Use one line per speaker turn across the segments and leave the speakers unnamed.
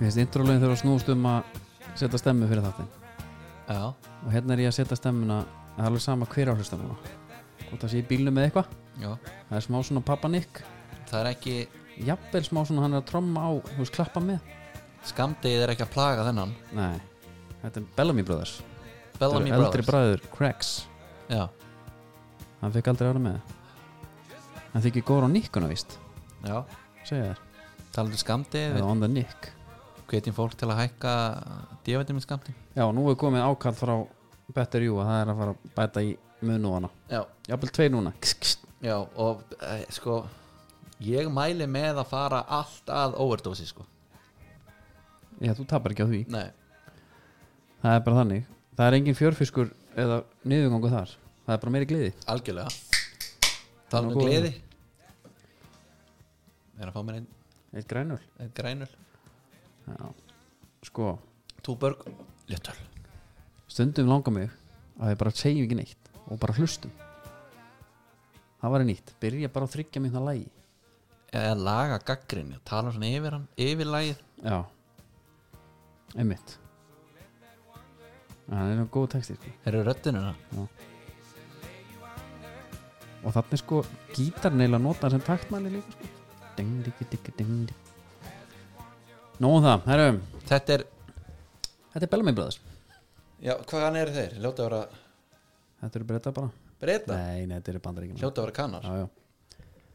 Mér finnst introlögin þurfa að snúast um að setja stemmu fyrir þáttinn
Já,
og hérna er ég að setja stemmuna það er alveg sama hver á hlusta núna og það sé í bílnum með eitthvað
já,
það er smá svona pappanikk
það er ekki
jafnvel smá svona hann er að tromma á þú veist klappa með
Skamdegið er ekki að plaga þennan
nei þetta er Bellamy Brothers
Bellamy
Þetta eru eldri
Brothers
bræður Cracks
Já,
hann fekk aldrei ára með það hann þykir góður á nikkuna víst
já,
segja þér
talandi um skamdegið
eða
Við
on the nick
hvetjum fólk til að hækka Dífatum í skamdegið
já nú er komið ákall frá Better You að það er að fara að bæta í munúana
Já,
jafnvel tvei núna kst, kst.
já, og eh, sko Ég mæli með að fara allt að overdósi sko
já þú tapar ekki á því
Nei,
það er bara þannig það er engin fjörfiskur eða niðurgangu þar það er bara meiri gliði
algjörlega Talandi um
góður.
gleði Er að fá mér einn
eitt grænul
ein grænul
Já. sko,
Túborg, léttöl
stundum langar mig að ég bara segjum ekki neitt og bara hlustum það var nýtt, byrja bara að þryggja minna lægi
Eða laga gaggrinni, tala svona yfir hann Yfirlægið
já einmitt það er nú góð texti sko.
Eru röddinuna?
og þarna er sko gítarn eiginlega notar sem taktmæli líka sko. ding, ding, ding, ding, ding. nóðum það, um. herrum
Þetta er,
þetta er Bellamy Brothers
já, hvaðan eru þeir? Ljóta að vera
þetta eru breyta bara
breyta
nei, nei, þetta eru bandaríkjum já,
Ljóta að vera kannar
já,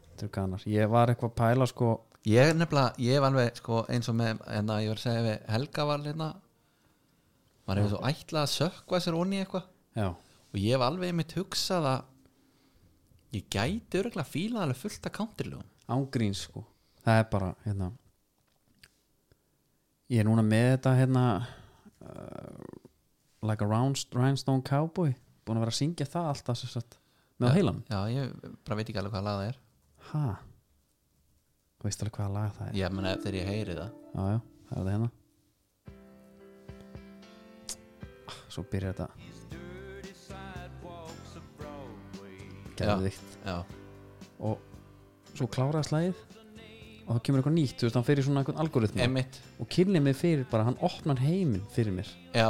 þetta eru kanar ég var eitthvað að pæla sko
Ég er nefnilega, ég var alveg sko, eins og með En að ég var að segja við Helga var hérna Var hefur svo ætlað að sökva sér onni í eitthvað
já,
Og ég hef alveg mitt hugsað að Ég gæti örgulega fílað alveg fullt af countrylögum
ángríns sko það er bara hérna ég er núna með þetta hérna uh, like a round, rhinestone cowboy búin að vera að syngja það alltaf sem sagt með á heilan
Já, ég bara veit ekki alveg hvað lag það er
ha þú veist alveg hvaða lag það er já,
Ég meina þegar ég heyri það
já, það er það hérna Ah, svo byrjar þetta gerðvikt
Já,
og svo kláraði slæðið og þá kemur eitthvað nýtt, þú veist, hann fer í svona einhvern algoritma
emitt
og kynni mig fyrir bara, hann opnar heiminn fyrir mér
Já,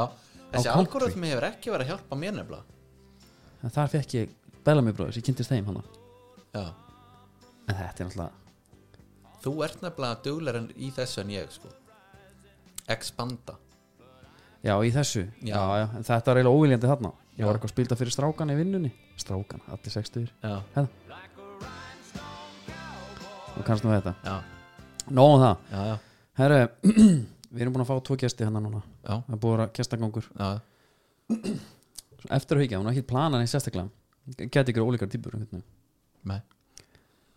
þessi
country.
algoritmi hefur ekki verið að hjálpa mér nefnilega
en þar fekk ég bæla mig bróðis, ég kynntist þeim hann en
Já,
þetta er náttúrulega
þú ert nefnilega duglar en í þessu en ég sko Expanda
já, í þessu, já,
Já.
já, en þetta var eiginlega óviljandi þarna ég
Já.
var eitthvað að spilta fyrir strákan í vinnunni strákan, allir sextuður
Já,
og kannski nú þetta,
já,
nóðum það
já, já,
herru, við erum búin að fá tvo gesti hennar núna
já,
það er búin að vera gestagangur
já.
Svo eftir að hugja, hún er ekkert planað neitt sérstaklega geti ykkur ólíkar típur einhvern veginn.
Nei.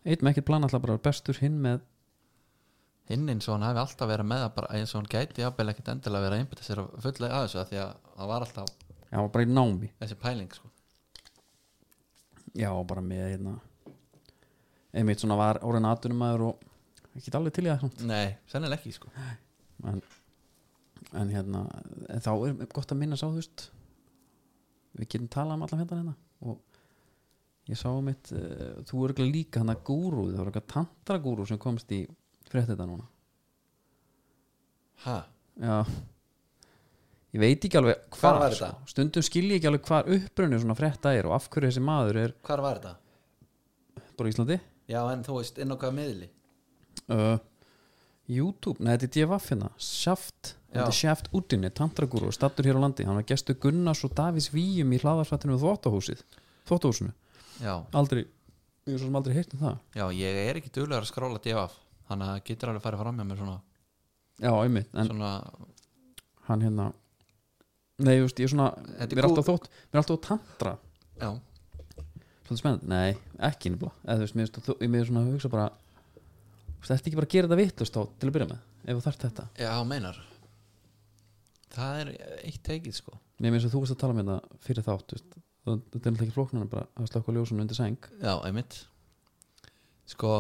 einn með ekkert planað alltaf bara að vera bestur hinn með
Hinn eins og hann hafi alltaf verið með það bara eins og hann gæti jafnvel ekkert endilega verið að einbytta sér að fulla að þessu af því að það var alltaf
já, hann var bara í námi
þessi pæling sko
Já, bara með hérna einmitt svona var orðin aðdunumæður og ekki alveg til í það samt.
Nei, sennilega ekki sko
en, en hérna en þá er gott að minna sá þú veist við getum talað um allan fjöndan hérna og ég sá um eitt uh, þú eru ekki líka hann að gúru það var eitthvað tantragúru sem komst í frétt þetta núna
Ha,
Já Ég veit ekki alveg hvar,
Hvar var
sko.
þetta?
stundum skilji ekki alveg hvar upprunni svona frétta er og af hverju þessi maður er
hvar var þetta?
bara í Íslandi
Já, en þú veist, inn á hvaða miðli
uh, YouTube, nei þetta er DFF hérna Shaft,
Já.
þetta er Shaft Udinni Tantraguru, stattur hér á landi, hann var gestur Gunnars og Davís Víum í hlaðarsvættinu við þvóttahúsið, þvóttahúsinu
Já,
aldrei, ég er svo sem aldrei heyrt um það
já, ég er ekki duglegur að skróla DF Þannig að það getur alveg farið fram hjá mér svona,
já, einmitt, en
svona
hann hérna nei, þú veist, ég er svona,
Þetta er
mér er alltaf þótt mér er alltaf á tantra,
Já,
svolítið spennandi nei, ekki nefnilega, eða þú veist mér, er stu- mér er svona að hugsa bara þetta er ekki bara að gera þetta vittlust á til að byrja með ef þú þarft þetta,
já, meinar Það er eitt tekið sko
nefnir eins og þú veist að tala með þetta fyrir þátt, þú veist, þetta er náttúrulega ekki flóknana bara að slökka ljósunum undir seng
Já, einmitt Sko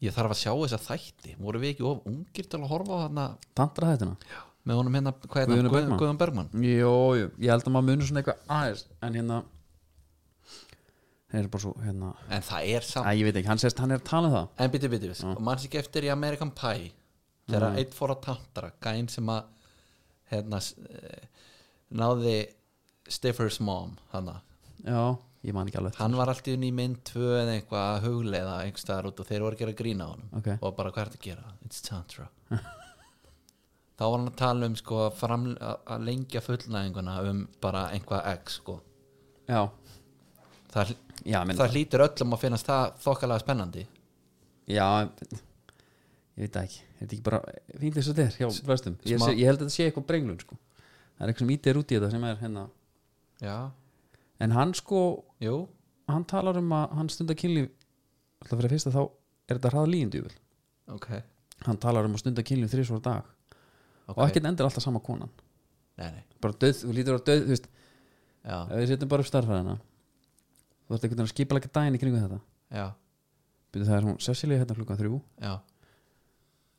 Ég þarf að sjá þess að þætti Voru við ekki of ungir til að horfa á þarna
Tantra þættina?
Með honum hérna, hvað er
Guðjóni
það?
Bergmann?
Guðan Bergmann
Jó, jú, ég held að maður munur svona eitthvað aðeins En hérna Það er bara svo, hérna
En það er
Æ,
samt
ég veit ekki, hann sést, hann er að tala um það
En byttu, byttu, sko, manns ekki eftir í American Pie þegar
Mm.
einn fór að tantra gæn sem að hérna, s- eh, náði Stiffer's mom hana.
já, ég man ekki alveg
hann var alltaf í mynd tvö eða eitthvað að hugleiða einhverstaðar út og þeir voru að gera grína á honum
Ok.
og bara hvað er þetta að gera, it's tantra þá var hann að tala um sko, að fram, að að lengja fullnæðinguna um bara einhvað x sko.
já,
það,
já, menn
það hlýtur öllum að finnast það þokkalega spennandi
já, ég veit það ekki er þetta ekki bara fínt þess að þetta er hjá flestum ég,
smá-
sé, ég held að þetta sé eitthvað brenglun sko. það er eitthvað sem ítir út í þetta sem er hérna
já,
en hann sko,
jú,
hann talar um að hann stundar kynlíf alltaf fyrir að fyrsta þá er þetta hraða líðindjúvel
ok,
hann talar um að stunda kynlíf þrísvara dag og
okay.
ekkert endur alltaf sama konan
nei, nei,
bara döð, þú lítur á döð þú veist,
já,
ef við setjum bara upp starfræðina þú ert einhvern veginn að skipa ekki daginn í kringum þetta
já,
Byrju, það er hún Cecilia hérna klukkan þrjú
já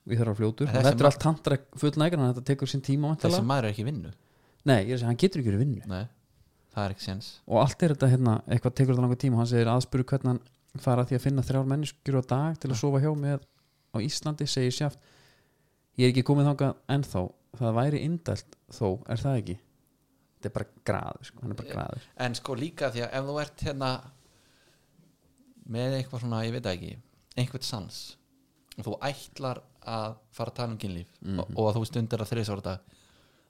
við þarfum fljótur
En
og
þessi
þetta er allt tantra fullnægur hann þetta tekur sinn tíma
þessi
væntanlega.
maður er ekki í vinnu
nei, ég er að segja, hann getur ekki verið í vinnu
nei, það er ekki sens
og allt er þetta hérna, eitthvað tekur þetta langar tíma og hann segir aðspuru hvernig hann fara að því að finna þrjár menneskjur á dag til að sofa hjá með á Íslandi, segir sjáft ég er ekki komið þangað ennþá það væri indælt þó, er það ekki þetta er bara graður, sko. hann er bara graður
en sko líka því að ef þú ert hérna með eitthvað svona, ég veit það ekki einhvern sans og þú ætlar að fara að tala um kynlíf og, og að þú stundir að þriðis orða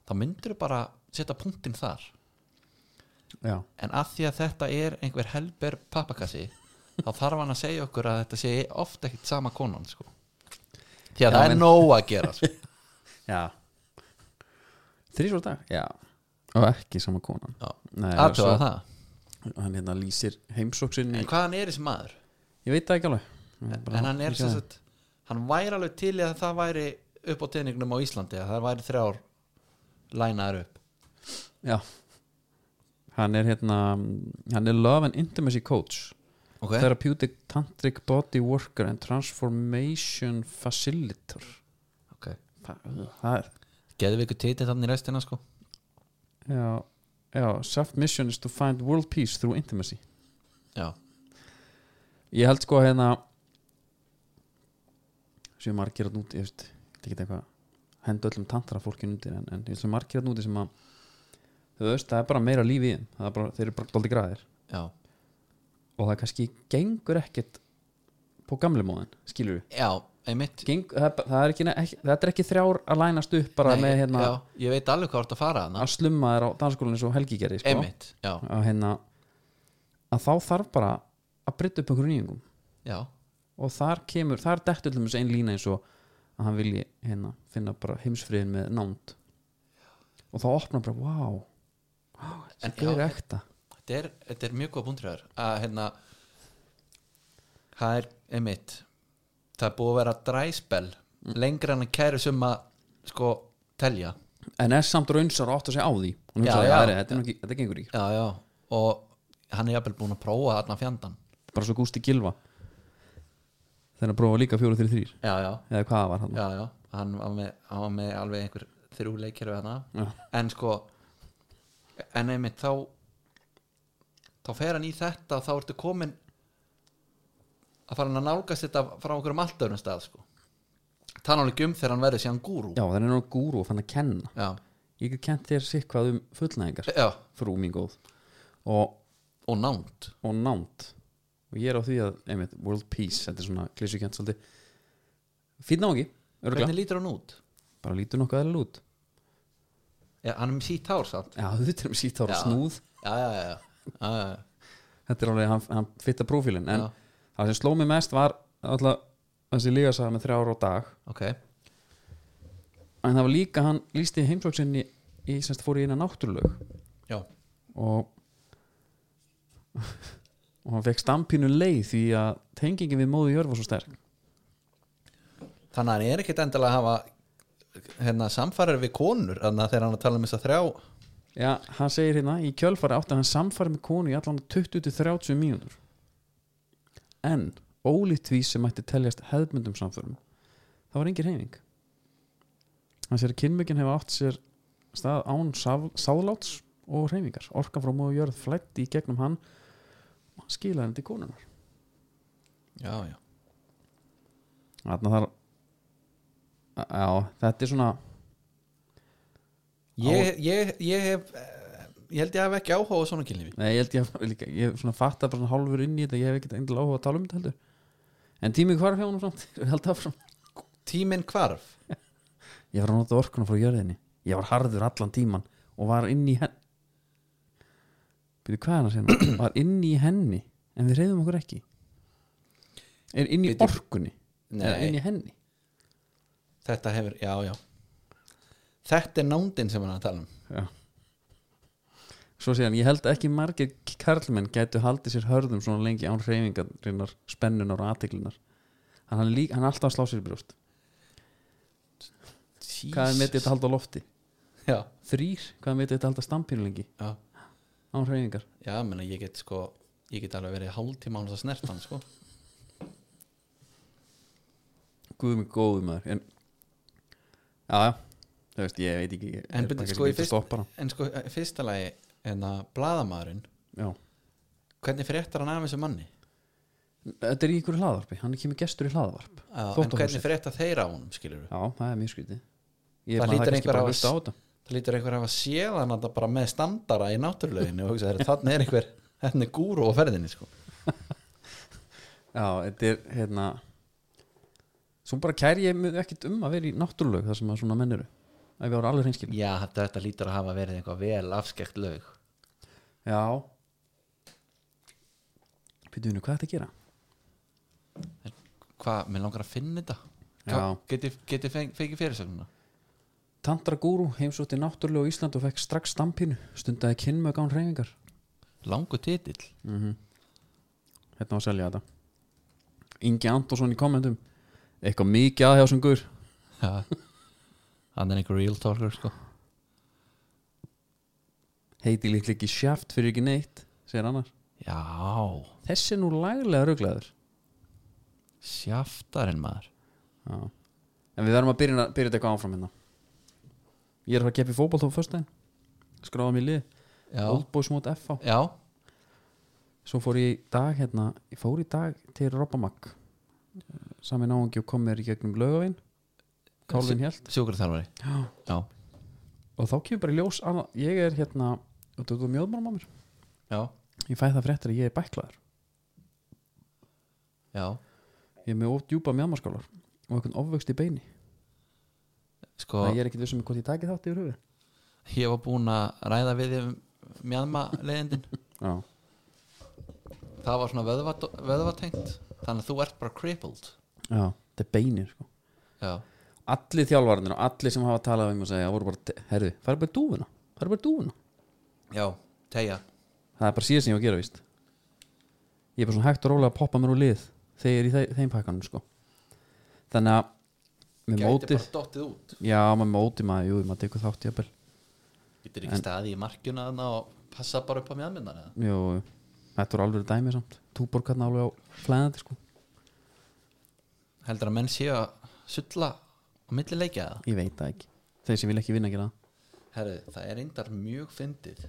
þá myndir þú bara setja punktinn þar
já,
en að því að þetta er einhver helber pappakassi þá þarf hann að segja okkur að þetta sé oft ekkert sama konan sko. því að
Já,
það
menn-
er nóg að gera sko.
já. þrísvara dag já, og ekki sama konan
Já.
Nei,
aðtöða
svo-
það
hann hérna lýsir heimsóksinni
en hvaðan er þessi maður?
ég veit það ekki alveg Ég bara-
en hann er
ég sé
sem
það.
sagt hann væri alveg til í að það væri upp á teiningnum á Íslandi að það væri þrjár lænaðar upp
já hann er hérna hann er love and intimacy coach
ok,
therapeutic tantric body worker and transformation facilitator
okay.
Þa- það er
geðum við ykkur títið þannig í restina sko
já, já, self mission is to find world peace through intimacy
já,
ég held sko hérna sem margir að núti ég veist, þetta er ekki eitthvað henda öllum tantra fólkinu undir en, en ég held sem margir að núti sem að þú veist, það er bara meira líf í þeim Það er bara, þeir eru bara dóldi græðir
já,
og það kannski gengur ekkert på gamle móðin, skilur við
já, einmitt
Geng, það, er bara- það er ekki, ekki, þetta er ekki þrjár að lænast upp bara
Nei,
með hérna
já, ég veit alveg hvað þú ert að fara hana
að slumma þér á danskólinni svo Helgi gerði sko.
einmitt, já,
að, hérna, að þá þarf bara að brytta upp einhverjum nýjungum
já,
og þar kemur, þar dettur til þessu ein lína eins og að hann vilji hérna, finna bara heimsfriðin með nánd og þá opnar bara, wow, wow
En
þetta er
já,
ekta
þetta er, þetta er mjög góð búndræður að hérna það er einmitt það er búið að vera dræspel lengra en að kæru sem að sko telja
en er samt raunsar og átt að segja á því hún
Já,
hugsaði,
já.
já, já, þetta, er nú ekki, þetta gengur ekki
já, já, og hann er jafnvel búin að prófa þarna fjandan
bara svo gústi gilva þegar að prófa líka fjóru þrjú þrýr
já, já,
eða hvað það var hann
já, já hann var með, hann var með alveg einhver þrjú leikir við hana
Já.
en sko en einmitt þá þá fer hann í þetta og þá ertu komin að fara hann að nálgast þetta frá okkur um allt öðrum stað sko tala hann ekki um þegar hann verður síðan gúrú
já, það er nú gúru og fann að kenna
já,
ég get kent þér sikk hvað um fullnæðingar
já,
frú mín góð og,
og nánd
og nánd og ég er á því að, einmitt, world peace þetta er svona klísukent svolítið fínn náungi, örgulega
hvernig lítur hann út?
bara lítur nokkuð aðeins út
Já, hann er með sítt hár samt
já, þú veitir um sítt ára
Já.
snúð
já, já, já, já, já, já.
þetta er alveg, hann, hann fitta prófílinn en
Já.
það sem sló mig mest var alltaf þessi lígasaga með þrjá ára á dag
ok,
en það var líka, hann lísti heimsóksinni í, semst fór í eina náttúrulög
já,
og og hann fekk stampínu leið því að tengingin við móðu jörf var svo sterk
þannig að hann er ekkit endilega að hafa hérna, samfærir við konur þannig að þegar hann er að tala um þess að þrjá
Já, hann segir hérna í kjölfari átti hann samfari með konu í allan 20-30 mínútur en ólíkt því sem mætti teljast hefðmyndum samförum þá var engin reyning hann segir að kynmökin hefur átt sér stað án sá- sáðláts og reyningar orkan frá móðu jörð flætti í gegnum hann og hann skilaði henni til konunar
já, já,
þannig að það já, þetta er svona
ég, ég, ég hef eh, ég held ég hef ekki áhuga á svona kynlífi
Nei, ég held ég að líka, ég hef svona fatta bara svona hálfur inn í þetta, ég hef ekkert endilega áhuga að tala um þetta heldur En tími hvar hjá honum samt, ég held áfram
tíminn hvarf
Ég var að nota orkuna frá jörðinni Ég var harður allan tíman og var inn í henni Byrðu hvað er hann að segja nú? Var inn í henni En við reyðum okkur ekki Er inn í
Bíddu.
orkunni Eða
Nei.
inn í henni
þetta hefur, já, já þetta er nándin sem hann er að tala um
Já Svo segja hann, ég held ekki margir karlmenn gætu haldið sér hörðum svona lengi án hreyfingarinnar, spennunar og aðtiklinar Hann, hann, lík, hann er alltaf að slá sér í brjóst Hvað er með þetta að halda á lofti?
já,
Þrýr, hvað er með þetta að halda stampinu lengi?
já,
Án hreyfingar
já, menna ég get sko ég get alveg verið hálftíma án þess að snerta hann sko
Guðum er góðum maður En, já, já Þú veist, ég veit ekki ég
En
er
byrju,
bara
sko,
ekki
í
að
fyrst-
stoppa hana.
en sko, í fyrsta lagi en að blaðamaðurinn
Já,
hvernig fréttar hann af þessu manni
þetta er í ykkur hlaðvarpi Hann er kemur gestur í hlaðvarp
Já, en
Þótt á
hvernig
húsið.
frétta þeir á honum skilur
Já, það er mjög skrítið Ég
Það
man
hlýtur
kannski
einhver
bara
að-
hlusta á þetta
það lítur einhver að hafa séð hann þarna bara með standara í náttúruleginu og hugsa, þannig er einhver þannig er gúru á ferðinni sko
Já, þetta er hérna Svo bara kæri ég mig ekkit um að vera í náttúrulög þar sem að svona menn eru Ef ég voru alveg hreinskilin
já, þetta, þetta lítur að hafa verið einhver vel afskekt lög
Já Pytunni, hvað er þetta að gera?
hvað, mér langar að finna þetta
Já.
Hva- geti, geti feng, fengið fyrirsögnuna
Tantra gúru heimsótti náttúrulög á Ísland og fekk strax stampinu stundaði kynmög án hreyfingar
langu titill
Hérna var að selja þetta Ingi Antonsson í kommentum Eitthvað mikið aðhjá sem guður
Já. hann er einhver real talker sko
Heiti líklega ekki sjaft fyrir ekki neitt segir annar
já,
Þessi er nú laglega ruglaður
sjaftarinn maður
Já. En við verðum að byrja, byrja þetta eitthvað áfram hérna Ég er að fara að keppi fótbolt á föstudaginn Skráða mér í lið
já,
Oldboys mot FH
já,
Svo fór ég í dag hérna Ég fór í dag til Robamag Sami náungi og kom mér í gegnum laugavinn Kálfinn hélt
sjúkurþjálfari
Já.
já,
Og þá kemur bara í ljós að Ég er hérna Og þú er mjöðmálum á mér
já,
Ég fæ það fréttir að ég er bæklaður
já
Ég er með of djúpa mjöðmarskálar Og einhvern ofvöxt í beini
sko,
Það ég er ekkit vissum hvort ég taki þátt yfir höfuð
ég var búinn að ræða við þig um mjadma leiðindin
Já
það var svona vöðvat, vöðvatengt þannig að þú ert bara crippled
Já Þetta er beinir sko
já,
allir þjálfarnir og allir sem hafa talað um og segja, voru bara, herðu, farið bara í dúfuna farið bara í dúfuna,
já, tegja
það er bara síðan sem ég á að gera víst ég er bara svona hægt og rólega að poppa mér úr lið þegar ég er í þe- þeim pakkanum sko þannig að með
gæti
mótið,
bara dottið út
já, með mótið maður, jú, maður tekur þátt jafnvel
getur ekki staði í markjuna þarna og passa bara upp á mjadminnar eða
jú, jú. þetta voru alveg dæmi samt túborgarna alveg á flæðandi sko
heldur að menn séu að sulla á milli leikja það
ég veit það ekki, þeir sem vil ekki vinna gera það
herru, það er eindar mjög fyndið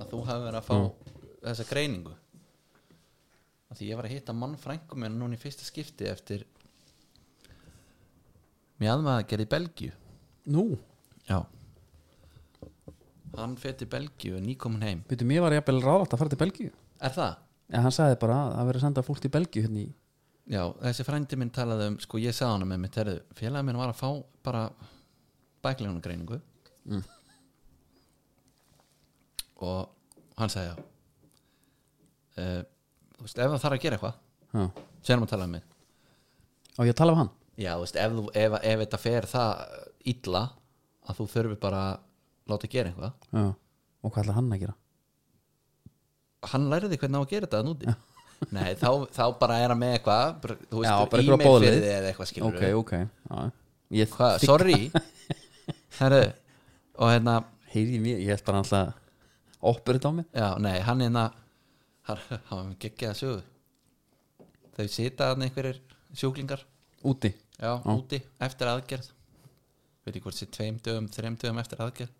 að þú hafi verið að fá þessa greiningu að því ég var að hitta mann frængu minn núna í fyrsta skipti eftir mjadmaða gerði Belgíu
nú,
Já Hann fer til Belgíu og nýkomin heim
veitum, mér var jafnvel ráðvægt að fara til Belgíu
Er það?
en hann sagði bara að það verið að senda fólk til Belgíu hérna í,
Já, þessi frændi minn talaði um sko ég sagði hann með mitt herðu félagi minn var að fá bara bæklegunagreiningu mm. og hann sagði já uh, þú veist ef það þarf að gera eitthvað
já,
sem hann talaði um mig
á ég að tala af hann
Já, þú veist, ef, þú- ef, ef þetta fer það illa að þú þurfi bara að láta gera eitthvað
já, og hvað ætlar hann að gera
hann læriði hvernig á að gera þetta að núti Nei, þá, þá bara er hann með eitthvað bara, þú
Já,
veist,
bara einhverja
e-mail fyrir
boðleið.
þig eða eitthvað skilur
ok, ok já. ég
Hva, sorry Herru, og hérna
heyri mér, ég held bara alltaf oppur þetta á mig
já, nei, hann hérna hann hann var geggjað að sögu þau sita hann einhverjir sjúklingar
úti,
já, úti, eftir aðgerð veit ekki hvort sér tveim dögum, þreim dögum eftir aðgerð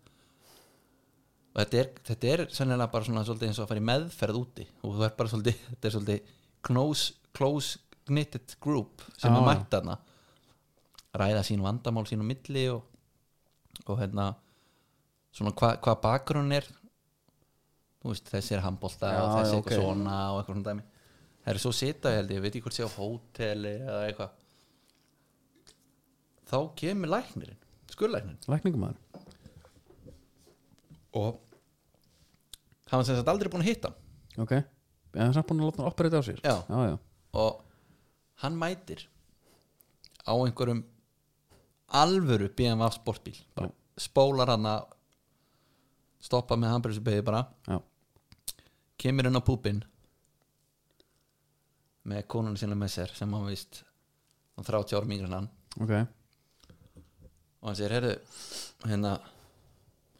og þetta er, þetta er sennilega bara svona svolítið eins og að fara í meðferð úti og þú er bara svolítið, þetta er svolítið close, close knitted group
Já,
sem er
já.
mætt hana ræða sín vandamál sín á milli og, og hérna svona hva, hvað bakgrunn er þú veist þessi er handbolta
Já,
og þessi
já,
er
ok.
eitthvað svona og eitthvað svona dæmi það er svo sita held ég, ég veit ekki hvort sé á hóteli eða eitthvað þá kemur læknirinn skurlæknirinn
lækningumæður
og hann var sem sagt aldrei búin að hitta hann
ok, en það er samt búin að láta hann operita á sér
Já.
já, já.
og hann mætir á einhverjum alvöru BMW sportbíl bara spólar hann að stoppa með handbremsubegi bara
Já.
kemur inn á púpin með konun sinna með sér sem hann vist hann 30 ára mingir en hann
ok,
og hann segir, heyrðu hérna,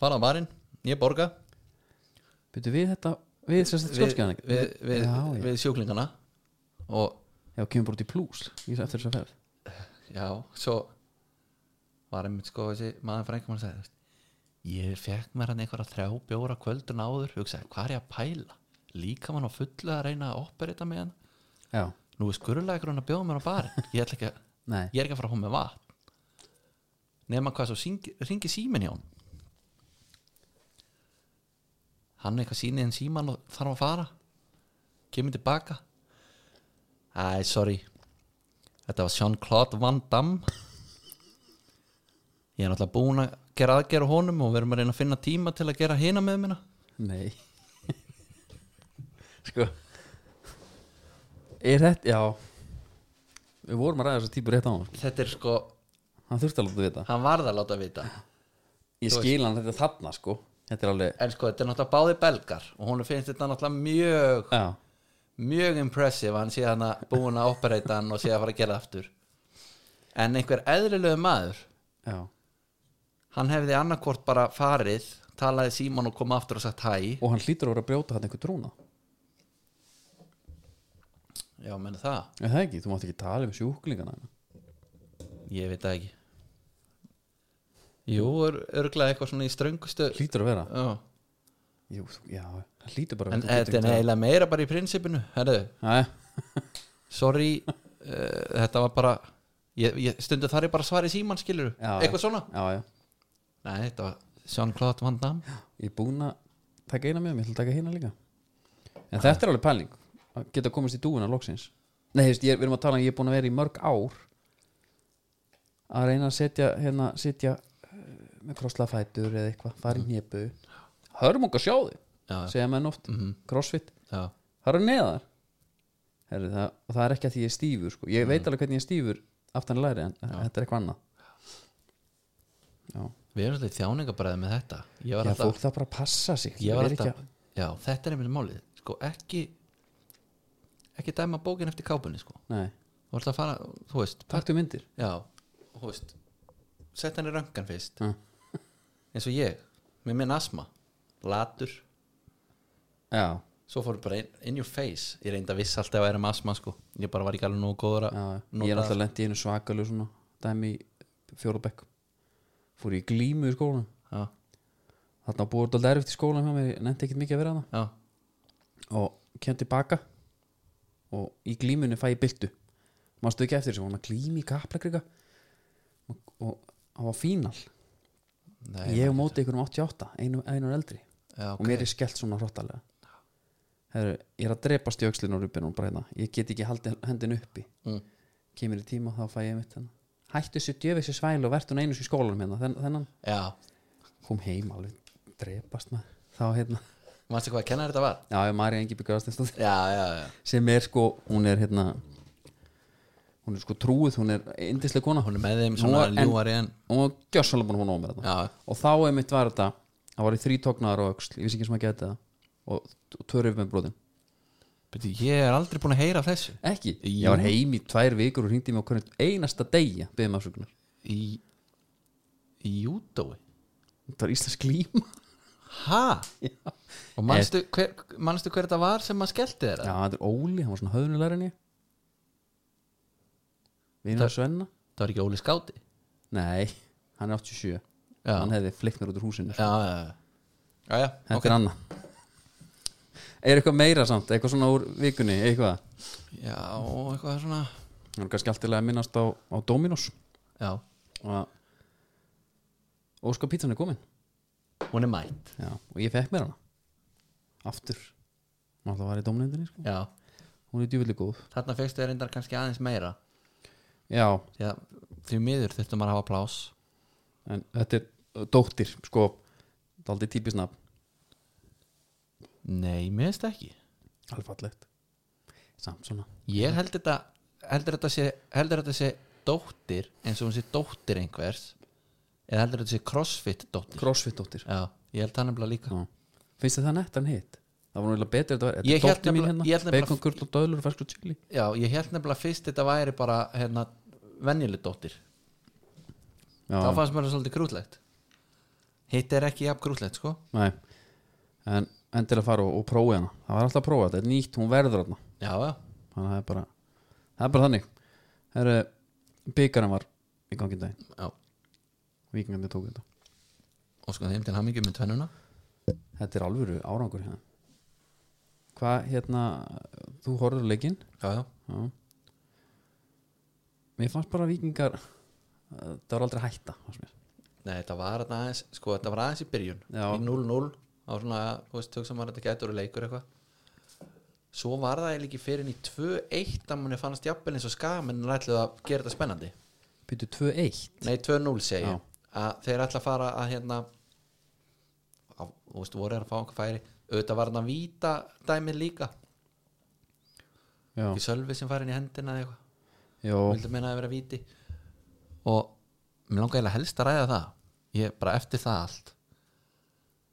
fara á barinn, ég borga
byrju við þetta við sérstætt skjálskjæðan
við, við, við,
já, já.
við sjúklingana og
já, kemur bara út í plús í eftir þess að ferð
Já, svo var einmitt sko þessi maður frængum að segja ég fekk mér hann einhverja þrjá bjóra kvöldun áður hugsaði, hvað er ég að pæla? Líka mann á fullu að reyna að operita með hann
já,
Nú er skurðlækur hann að bjóða mér á barinn ég, ætla ekki að,
nei,
ég er ekki að fara að fá með vatn Nefna hvað svo ringi símin hjá hann Hann eitthvað sýnið en síman og þarf að fara Kemur tilbaka Æ, sorry Þetta var Jean-Claude Van Damme Ég er náttúrulega búin að gera aðgera á honum og við erum að reyna að finna tíma til að gera hina með minna
nei sko er þetta, já við vorum að ræða þess að típur rétt á hann sko.
Þetta er sko,
hann þurfti alveg að vita
hann varð að láta vita
ég skil hann þetta þarna sko þetta er alveg,
En sko, þetta er náttúrulega báði belgar og hún finnst þetta náttúrulega mjög
já,
mjög impressive að hann sé hann að búin að operata hann og sé að fara að gera það aftur en einhver eðlilegu maður
já
hann hefði annarkvort bara farið talaði síman og kom aftur og sagt hæ
og hann hlýtur að vera að brjóta hann einhver trúna
já, menn það,
er það ekki, þú mátt ekki tala um sjúklingana hérna.
ég veit það ekki jú, ör, örglega eitthvað svona í ströngustu já.
hlýtur að vera Jú, þú- já, hann hlýtur bara
en þetta er eiginlega meira bara í prinsipinu herðu,
Æ,
sorry uh, þetta var bara ég, ég, stundu þar ég bara að svara í síman skilur
Já, já.
eitthvað svona,
já, já,
nei þetta var Jean-Claude Van Damme
ég er búinn að taka eina með mig, ég ætla að taka hérna líka en þetta er alveg pæling að geta komist í dúuna loksins nei, þú veist, ég, við erum að tala um ég er búinn að vera í mörg ár að reyna að setja hérna, setja eh, með krosslafætur eða eitthvað, fara í
Mm.
nýpu hörmung að sjá þig
já, já,
segja menn oft, crossfit
já,
það eru neðar Heru, það, og það er ekki að því ég er stífur sko. ég
Mm.
veit alveg hvernig ég er stífur aftan í læri en þetta er eitthvað annað já,
við erum svolítið þjáningabræði með þetta ég var
já
alltaf
fólk það bara að passa sig
ég
Er
var
ekki
alltaf, já, þetta er einmitt málið sko, ekki ekki dæma bókin eftir kápunni, sko
að, nei,
þú ert að fara, þú veist,
taktu myndir
já þú veist, sett hann í röngan fyrst
Mm.
eins og ég, með minn asma latur,
já,
svo fór bara in, in your face ég reyndi að viss alltaf að vera með asma, sko ég bara var ekki alveg nógu góður að
já ég
nota-
er alltaf lent í einu svakalu svona dæmi í fjórabekk fór ég í glímu í skólanum
já,
þarna búið þetta lærfitt í skólanum hjá mér ég nefndi ekkert mikið að vera
já,
hana og kem tilbaka og í glímunni fæ ég byltu maður ekki eftir þessu, hún var glími í kaplakrika og, og hann var fínal
nei,
ég hef mótið ykkur um 88, einu, einu eldri
já,
og mér er skellt svona hróttalega Heru, ég er að drepast í öxlinu og rúbinu bara hérna, ég get ekki haldið hendin uppi
mm,
kemur í tíma þá fæ ég mitt hérna hættu þessu djöfissi svælu og vertu hún einu sinni í skólanum hérna Þen, þennan
já,
kom heim alveg drepast maður þá hérna,
mannstu hvað að kenna þetta var
já ég Marja Engi Byggjast
já, já, já,
sem er sko, hún er hérna hún er sko trúið, hún er indislega kona
hún er með þeim
Nú
svona
var- en-
ljúari en,
hún var gjössalega búin að hún ómur þetta
já,
og þá er mitt var þetta, það var í þrý tóknar og öxl, ég vissi ekki sem að geta það og törrið með brotin,
betur, ég er aldrei búin að heyra af þessu
ekki
Jú.
ég var heim í tvær vikur og hringdi mig á hvernig einasta degi beðið maður sökunar,
í í júdói
þetta var íslensk líma
ha? og manstu hver, manstu hver þetta var sem maður skellti þér
Já, þetta er Óli, hann var svona höfnulegar en ég Vinur
Það-
það... Svenna
það var ekki Óli Skáti
Nei, hann er 87
já,
Hann hefði fliknar út úr húsinu
já, já, já. já, já.
Þetta
ok.
er annað Er eitthvað meira samt, eitthvað svona úr vikunni Eitthvað,
já og eitthvað svona
hann er kannski alltilega að minnast á, á Dominos
já,
og að og sko pítsan er komin
hún er mætt
já, og ég fekk mér hana aftur maður alltaf var í domnefndinni sko.
já,
hún er djúvillig góð
þarna fegstu þér reyndar kannski aðeins meira
já,
því að því miður þurftum maður að hafa plás
en þetta er uh, dóttir sko, þetta er aldrei típisnafn
nei, mér finnst það ekki
alveg fallegt samt svona
ég held þetta heldur þetta sé, heldur þetta sé dóttir eins og hún sé dóttir einhvers eða heldur þetta sé crossfit dóttir
crossfit dóttir
já, ég held það nefnilega líka
Já. finnst þið það nettar en hitt? það var náttúrulega betur þetta var, þetta
Ég
er
hélt
dóttir mín
nefnilega- ég hélt
hérna
nefnilega-
bacon, gurl og döðlur og fersku chili
já, ég held nefnilega fyrst þetta væri bara hérna, venjuleg dóttir þá
já,
fannst mér það svolítið grútlegt hitt er ekki jafn grútlegt sko
nei en, en til að fara og, og prófa hana það var alltaf að prófa, þetta er nýtt, hún verður hana
já, já,
þannig að það er bara það er bara þannig Heru, byggarinn var í gangin daginn
já.
vikingandi tók þetta
og sko þeim til hamingjum með tvennuna
þetta er alvöru árangur hérna hvað hérna þú horfður á leikinn
já, já,
Já. mér fannst bara vikingar það var aldrei að hætta fannst mér.
nei þetta var þarna aðeins sko þetta var aðeins í byrjun
Já.
í 0-0 á svona, þú veist, hugsa maður að þetta gætur leikur eitthvað svo var það eiginlega ekki fyrir en í 2-1 að manni fannst jafnvel eins og skam en ætlaði að gera þetta spennandi
byrju 2-1
nei 2-0 segi
Já.
ég. að þeir ætla að fara að hérna á, þú veist voru þeir að fá einhver færi auðvitað var hann að víta dæmið líka
já,
ekki sölvi sem farin í hendina eða eitthvað
já,
vildi meina að vera víti og mér langaði eiginlega helst að ræða það ég bara eftir það allt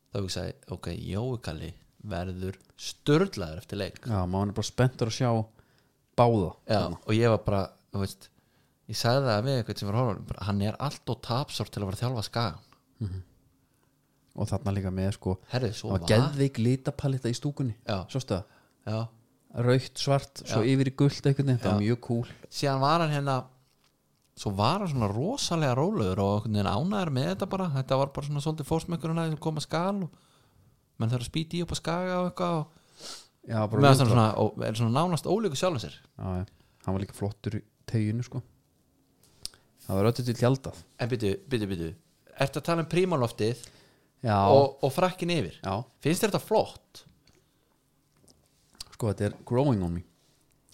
þá hugsaði, ok, Jóikalli verður störlaður eftir leik
já maður er bara spenntur að sjá báða
Já, og ég var bara, þú veist ég sagði það við eitthvað sem var horfum hann er allt og tapsort til að vera að þjálfa skagan
og þarna líka með sko
herrið,
það
svo
var
var
geðveik litapaletta í stúkunni
Já.
sástu það,
já.
raukt, svart svo yfir í gult einhvern veginn, það var mjög cool
síðan var hann hérna svo var hann svona rosalega rólegur og einhvern veginn ánæður með þetta bara þetta var bara svona svolítið fórsmökkurinn aðeins sem kom að skal og menn þarf að spýti í upp að skaga og eitthvað og
já, bara
meðan
mjög
hann svona, og er svona nánast ólíku sjálfum sér
já, já. hann var líka flottur í teginu sko það var öllu til tjaldað
en byttu, byttu, byttu ertu að tala um prímaloftið
já,
og, og frakkin yfir
já,
finnst þér þetta flott?
sko þetta er growing on me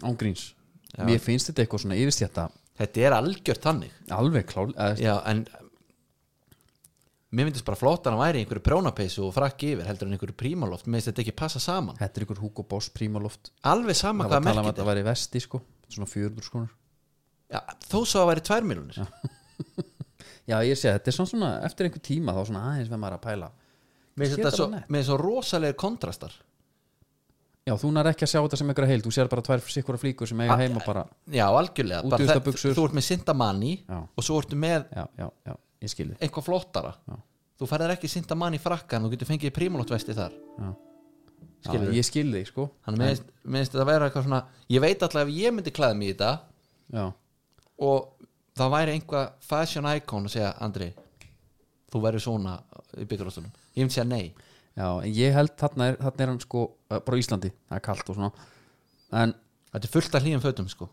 án gríns
Já.
mér finnst þetta eitthvað svona yfirstjætta
þetta er algjört þannig
alveg klál eða,
já, en mér myndist bara flott að hann væri í einhverju prjónapeysu og frakki yfir heldur en einhverju prímaloft mér finnst þetta ekki passa saman
þetta er ykkur Hugo Boss Primaloft
alveg sama
það var
hvað
að tala um að
merkið
þetta væri vesti sko svona 400 skonur
Já, þó svo að væri tvær miljonir
já ég sé þetta er svona, svona eftir einhver tíma þá svona aðeins við maður að pæla
Mér finnst
Sé
þetta svo,
bara nett.
með svo rosalegir kontrastar
já þú nær ekki að sjá þetta sem einhverja heild þú sér bara tvær sikkura flíkur sem eiga heima bara
Ah, Já, algjörlega bara
Útivistabuxur.
þe- Þú ert með sindamanni
Já.
og svo ertu með
já já já ég skilði
eitthvað flottara
Já.
Þú færðir ekki sindamanni frakka en þú getur fengið prímulóttvesti þar
já.
Skilurðu?
já ég skilði sko
Þannig mér finnst- mér finnst þetta að vera eitthvað svona Ég veit alltaf ef ég myndi klæða mig í þetta
já
og það væri einhvað fashion icon að segja Andri, þú verður svona í bygguróttunum Ég myndi segja nei
já en ég held þarna er, þarna er hann sko eh, bara á Íslandi það er kalt og svona en
Þetta er fullt af hlýjum fötum sko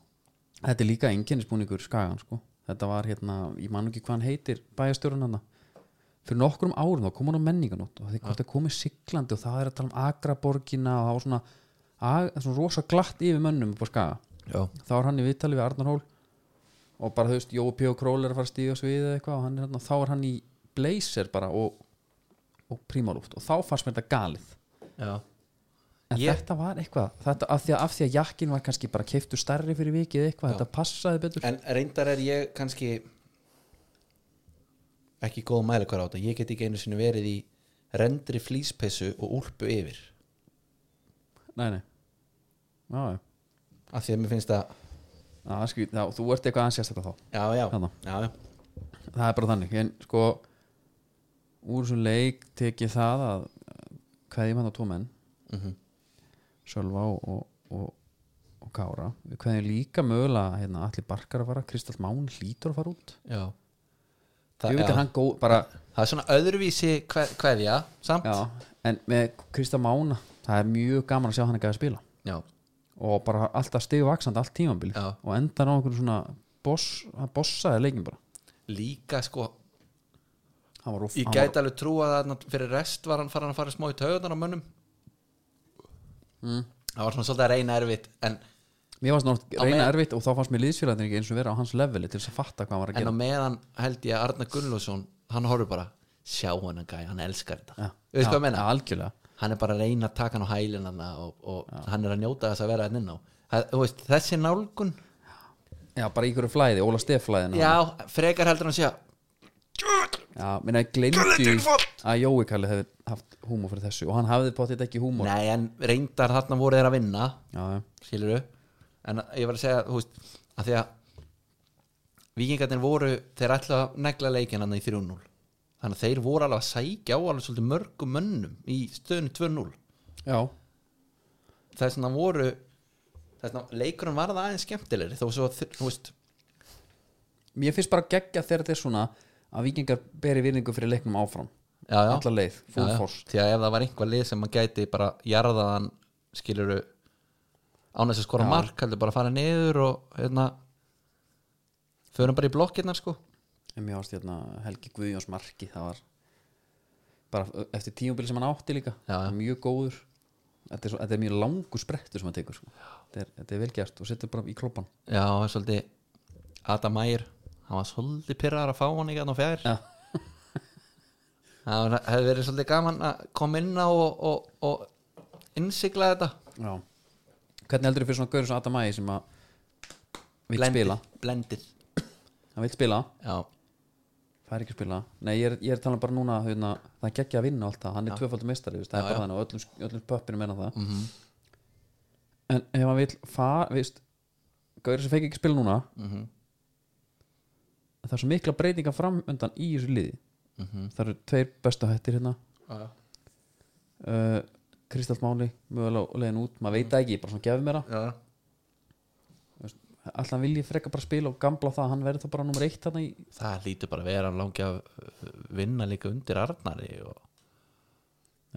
Þetta er líka enginnisbúningur skagan sko. Þetta var hérna, ég man ekki hvað hann heitir bæjastjórun hann fyrir nokkrum árum þá kom hann á menninganót og þeir ja. komið siglandi og það er að tala um agraborgina og það var svona, að, svona rosa glatt yfir mönnum upp á skaga
Já,
þá er hann í viðtali við Arnar Hól og bara þú veist, Jói P. og Król er að fara að stíða sviðið eða eitthvað og hann er, hérna, þá er hann í blazer bara og, og prímalúft og þá fannst mér þetta galið
já,
En
Ég-
þetta var eitthvað, þetta, af, því að, af því að jakkin var kannski bara keiftu stærri fyrir vikið eitthvað, þetta passaði betur
En reyndar er ég kannski ekki góð mæli hver á þetta ég get ekki einu sinni verið í rendri flýspessu og úlpu yfir
Nei, nei Já, já.
af því að mér finnst að
Já, það er skrýt, já, þú ert eitthvað aðeins sérstaklega þá
já, já,
Þarna.
já, já,
Það er bara þannig, en sko úr þessum leik tek ég það að hverjum hann á tvo menn
Mhm.
Sölva og, og, og, og Kára hverjum líka mögulega hérna, allir barkar að fara, Kristall Mán hlýtur að fara út
já.
Ég
Það,
veit að
já.
hann góð, bara
það er svona öðruvísi kve, kveðja samt
já, en með Kristall Mán það er mjög gaman að sjá hann ekki að spila
já,
og bara alltaf stigvaksandi allt tímambili
Já.
og endar á einhvern svona boss, hann bossaði leikin bara
líka sko
hann var of
ég
hann
gæti alveg trúa að þarna fyrir rest var hann farin að fara smá í taugunar á mönnum
Mm.
það var svona svolítið að reyna erfitt en,
var, mér varst
Á
náttúrulega reyna
meðan-
erfitt og þá fannst mér liðsfélagarnir ekki eins og vera á hans leveli til þess að fatta hvað hann var að
en á
gera
meðan held ég að Arna Gunnlósson hann horfir bara, sjá hennan gæ hann elskar þetta,
Já.
Þú veist
Já,
hvað ég meina
ja, algjörlega
hann er bara að reyna að taka hann á hælinn hælina og, og hann er að njóta þess að vera hann inn á Það- þú veist, þessi nálgun
Já, bara í hverju flæði, Óla Stefflæðin
já, frekar heldur hann sé að
Já, minna ég gleymdi að Jói Kalli hefði haft húmor fyrir þessu og hann hafði potið ekki húmor
nei, en reyndar þarna voru þeir að vinna
Já, já,
skilur en ég var að segja, þú veist að því að vikingarnir voru, þeir ætla að negla leikin hann í 3-0 þannig að þeir voru alveg að sækja á alveg svolítið mörgum mönnum í stöðunni 2-0
já,
þess að voru þess að leikurinn var það aðeins skemmtilegri þó svo, að þi- þú veist,
mér finnst bara geggja þegar þetta er svona að vikingar beri virðingu fyrir leiknum áfram
já, já
alla leið, full
Já, já.
force
því að ef það var einhvað lið sem maður gæti bara jarðaðan skiluru án þess að skora mark heldur bara að fara niður og hérna förum bara í blokkirnar sko
en mér varst hérna Helgi Guðjóns marki það var bara eftir tíumbil sem hann átti líka
Já, já.
mjög góður þetta er, svo, þetta er mjög langur sprettur sem hann tekur sko. þetta er, þetta er vel gert og setur bara í kloppan
já, það er svolítið Adam Mayer, hann var svolítið pyrraðar að fá hann ekki að ná fjær
Já.
það hefði verið svolítið gaman að koma inn á og, og, og innsigla þetta
já. hvernig heldur fyrir svona gaur svo Adam Ægi sem að vil
Blendið-
spila
blendið,
hann vil spila,
já,
fær ekki að spila nei, ég er, ég er talað bara núna hérna, það geggja að vinna og allt það, hann er tvöfaldur meistari þú veist, það er bara þannig og öllum, öllum pöppinu menna það
mhm,
en ef hann vil fara, veist gaur sem fekk ekki að spila núna
mhm
það er svo mikla breytinga framöndan í þessu liði
mhm,
það eru tveir bestu hættir hérna
já,
uh, Kristall Máli mögulega og leiðin út, maður veit það ekki, bara svona gefur mér
já,
það alltaf vil ég frekka bara spila og gambla á það að hann verður þá bara nummer eitt þarna í
það lítur bara að vera hann langi að uh, vinna líka undir Arnari og,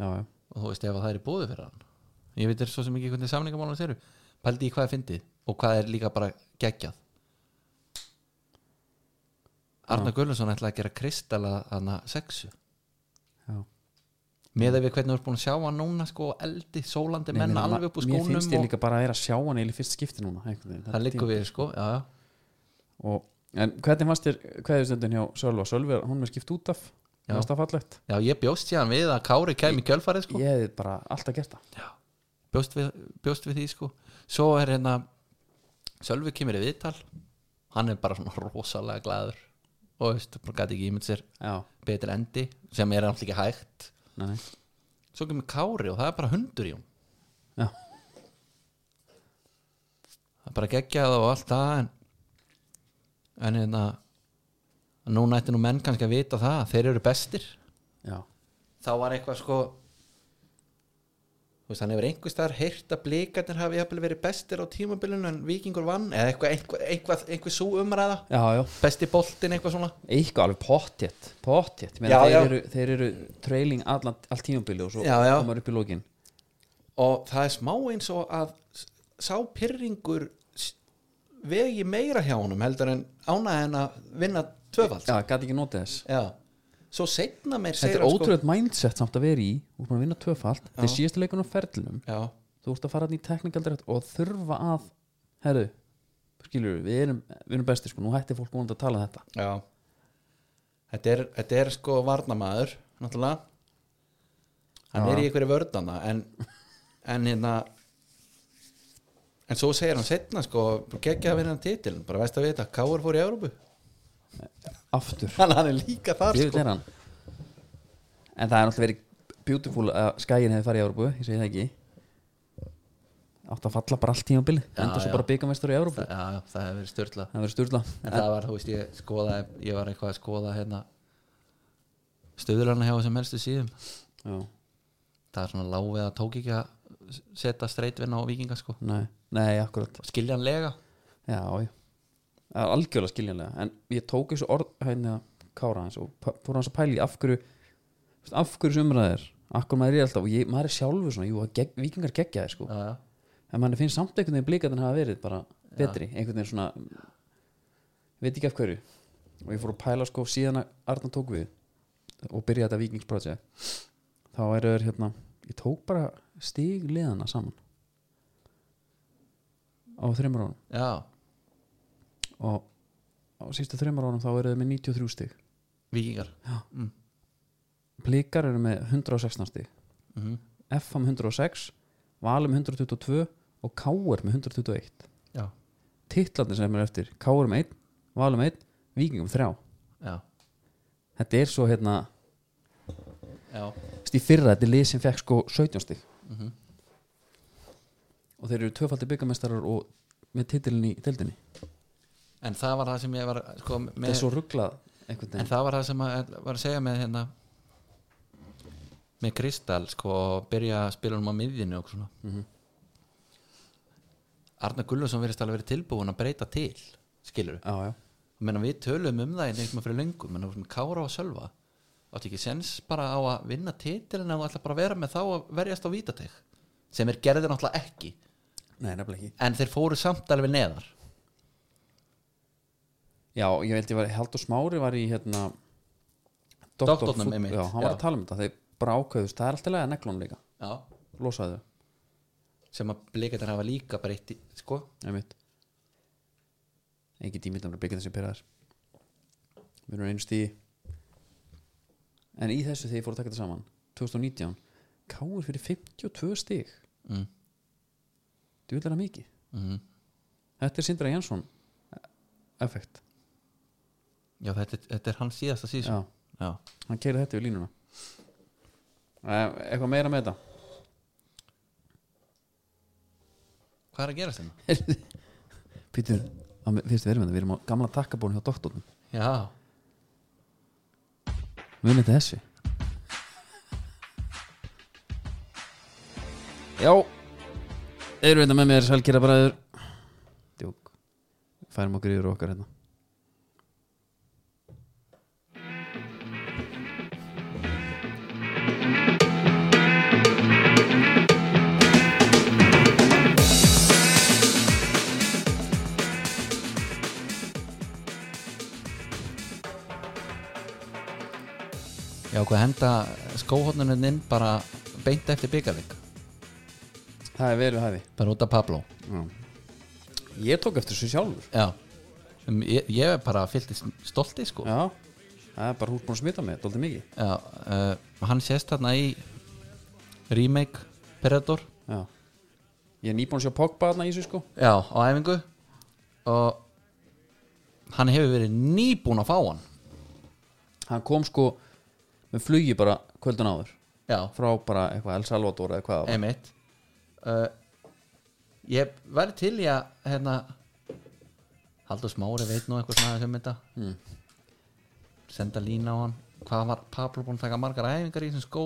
já, já,
og þú veist ef það er í búðu fyrir hann ég veit er svo sem ekki hvernig samningamálum þeir eru pældi í hvað er fyndið og hvað er líka bara geggjað Arnar Gullarsson ætlaði að gera kristalla þarna sexu
já.
með að við hvernig þú ert búin að sjá hann núna sko eldi, sólandi
Nei, ég
menna
meina,
alveg upp úr
mér
skónum
finnst ég
og
líka bara að er að sjá hann eiginlega í fyrst skipti núna einhvern veginn,
það
þetta
liggur
tíma.
við sko já, já,
og, en hvernig fannst þér hverju stundin hjá Sölva Sölvi, hún er skipt út af
Já.
fannst það fallegt,
já, ég bjóst síðan við að Kári kæmi í kjölfarið sko
ég hefði bara alltaf gert það
já, bjóst, við, bjóst við því sko svo er hérna Sölvi kemur í viðtal hann er bara svona rosalega glaður og veist, bara gæti ekki ímynd sér
já,
betur endi sem er alltaf ekki hægt
nei, nei.
svo kemur Kári og það er bara hundur í hún
Já.
það er bara geggjað og allt það en, en hérna núna ætti nú menn kannski að vita það þeir eru bestir
já,
þá var eitthvað sko þú veist, hann hefur einhvers staðar heyrt að blikarnir hafi jafnvel verið bestir á tímabilinu en vikingur vann eða eitthvað, eitthvað, eitthvað, eitthvað svo umræða
já, já
besti boltinn eitthvað svona
eitthvað alveg pottjett pottjett,
Já,
þeir,
já.
Eru, þeir eru trailing allan, allt tímabili og svo
Já, já.
komar upp í lókin
og það er smá eins og að s- sá pyrringur s- vegi meira hjá honum heldur en ánæði en að vinna tvöfald
já, gæti ekki notið þess
Já. svo setna meir
þetta er
segir hann, sko-
ótrúlega mindset samt að vera í og búin að vinna tvöfalt, þetta er síðasta leikunum á ferlinum
Já.
þú ert að fara þarna í teknikaldrætt og þurfa að herru, skilur við erum, við erum besti sko, nú hætti fólk vonandi að tala þetta
Já. Þetta, er, þetta er sko varnamaður náttúrulega hann
Já.
er í einhverju vördana en, en hérna en svo segir hann setna sko, geggja að vinna titil bara veist að vita, Káur fór í Európu
aftur,
hann hann er líka þar
við
sko.
er hann en það er náttúrulega verið beautiful að skæin hefði farið í Európu, ég segi það ekki átt að falla bara allt tímabili
Já,
enda svo
já.
bara byggamestur í Európu
Já, já, það hefur verið styrla
það verður styrla
en það var, þú veist, ég skoðaði ég var eitthvað að skoða hérna stöðulana hjá þessum helstu síðum
Já,
það er svona lág við að tók ekki að setja streitvinna á vikinga sko
nei, nei, akkurat
skiljanlega
Já, já, það er algjörlega skiljanlega En ég tók þessu orð hérna Kára hans og p- fór hans að pæli af hverju þú veist, af hverju sumraðir Akkur maður er alltaf og ég, maður er sjálfur svona Jú, að gegg, vikingar geggja þér sko
já, já.
En mann finnst samt einhvern veginn blík að hann hafa verið bara betri Einhvern veginn svona Veit ekki af hverju og ég fór að pæla sko síðan að Arna tók við og byrjaði þetta Vikings Project þá eru þeir hérna ég tók bara stig liðana saman á þreymur árum
já,
og á sístu þreymur árum þá eru þeir með 93 stig
vikingar
Blikar eru með 116 stig
mm
Mhm. FM 106, Valum 122 og KR með 121
já,
titlarnir sem eru eftir KR með 1, Valum um 1 Vikingum 3,
já,
þetta er svo hérna
já
stíð fyrra, þetta er lið sem fekk sko 17 stig
mm
og þeir eru tvöfaldi byggamestarar og með titilin í deildinni
en það var það sem ég var sko,
þetta er
með,
svo rugglað einhvern
en
veginn
það var það sem að var að segja með hérna með Kristall sko og byrja að spila um á miðjunni og svona
Mhm.
Arna Gulluðsson verðist alveg verið tilbúin að breyta til skilur
já, já,
menna við tölum um það einhvern veginn fyrir löngu menna við kára á sjálfa átti ekki sens bara á að vinna titilin en þú ætla bara að vera með þá að verjast á vítateg sem er gerðið náttúrulega ekki
nei, nefnilega ekki
en þeir fóru samt alveg neðar
já, ég veldi að Heldur Smári var í hérna
Doktornum,
fút-
einmitt,
já, hann var
já.
að tala um þetta, þeir bara ákveðust það er alltaf lega neglunum líka,
já.
losaðu
sem að blikatar hafa líka breytti sko
einmitt ekki tímið að byggja þessi pyrraðar við erum einu stíði en í þessu þegar ég fór að taka þetta saman 2019, káir fyrir 52 stig
mm.
þú vil það mikið
Mm.
Þetta er Sindra Jansson effekt
já þetta, er- þetta er hans síðasta síðan
Já,
já.
hann keiri þetta við línuna Eh, Eitthvað meira með þetta
hvað er að hérna? gera þetta?
Pítur, það me- finnst við erum með þetta Við erum á gamla takkabónu hjá doktornum
já,
Munið þetta þessu Já Eru þetta með mér sælgera bræður Djók Færum okkur yfir á okkar hérna
já hvað henda skóhóðnunum inn bara beint eftir byggarleik
Það er verið hæfi
bara út af Pablo
Já. Ég tók eftir þessu sjálfur
já Sem ég, ég er bara fyllt stolti sko
Já Það er bara hún búin að smita mig, dóldi mikið
Já, uh, hann sést þarna í remake Predator
Já Ég er nýbúin að sjá Pogba þarna í þessu sko
Já, á æfingu og hann hefur verið nýbúin að fá hann
Hann kom sko með flugi bara kvöldun áður
Já,
frá bara eitthvað El Salvador eða hvað það var.
einmitt uh, Ég verði til í að hérna Haldur Smári veit nú eitthvað svona sem þetta
Mm.
senda lína á hann hvað var Pablo búin að taka margar æfingar í þessum skó